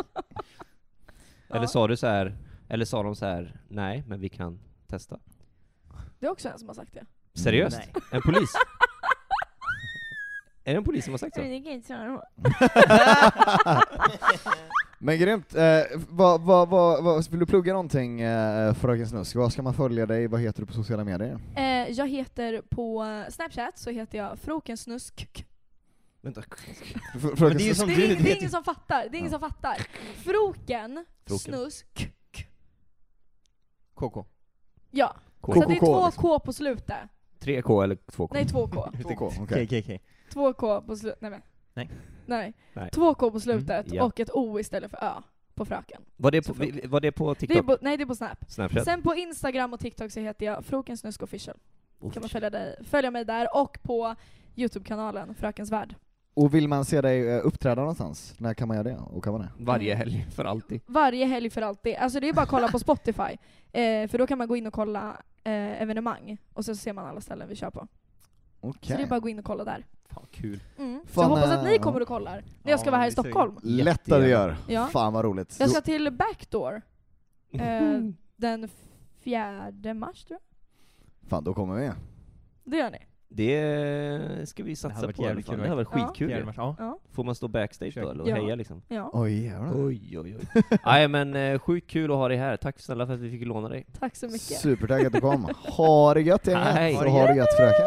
Eller Ja. sa du så här, eller sa de så här, nej, men vi kan Mm. testa? Det är också en som har sagt det. Seriöst? Nej. En *laughs* polis? Är det en polis som har sagt så? kan inte svara på. *laughs* Men grymt. Eh, vad, vad, vad, vad, vill du plugga någonting eh, Fröken Snusk? Vad ska man följa dig? Vad heter du på sociala medier? Eh, jag heter på Snapchat så heter jag Frokensnusk. Vänta. Fr- Fröken det är ju Snusk? som Det du, är, ingen- det är det ingen som fattar. Det är ingen som fattar. Froken, Froken. Snusk. KK. Ja. Så det är KKK, två liksom. K på slutet. 3K eller 2K? Nej, två K. 2K, okej. KKK. Två K på slutet. Nej, men. Nej. Nej. Nej. Två K på slutet Mm, ja. och ett O istället för Ö på fröken. Var det på, Så fråga. var det på Det är TikTok? på, nej, det är på Snap. Snapchat? Sen på Instagram och TikTok så heter jag Fröken Snusk Official. Oh, Kan man följa, dig, följa mig där och på Youtube-kanalen Frökens Värld. Och vill man se dig eh, uppträda någonstans? När kan man göra det? Och kan man det? Varje helg, för alltid. Varje helg för alltid. Alltså det är bara att kolla på Spotify. Eh, för då kan man gå in och kolla eh, evenemang och så ser man alla ställen vi kör på. Så Okej. det är bara att gå in och kolla där. Fan, kul. Mm. Så Fan, jag hoppas att äh, ni ja. kommer och kollar när jag ska Ja, vara här i vi ser- Stockholm. Lätt att du gör. Ja. Fan vad roligt. Jag ska till Backdoor eh, den fjärde mars tror jag. Fan, då kommer vi. Det gör ni? Det ska vi hade satsa varit på i alla jävligt fall. kul, Det här var verkligen. skitkul Fjärde ju. mars, ja. Ja. Får man stå backstage då eller och Ja. heja liksom? ja. Oj *laughs* jävlar. Oj, oj, oj. Nej men eh, sjukt kul att ha dig här. Tack snälla för att vi fick låna dig. Tack så mycket. *laughs* Supertaggad att du kom. Ha det gött gänget. Hej. Och ha det gött fröken.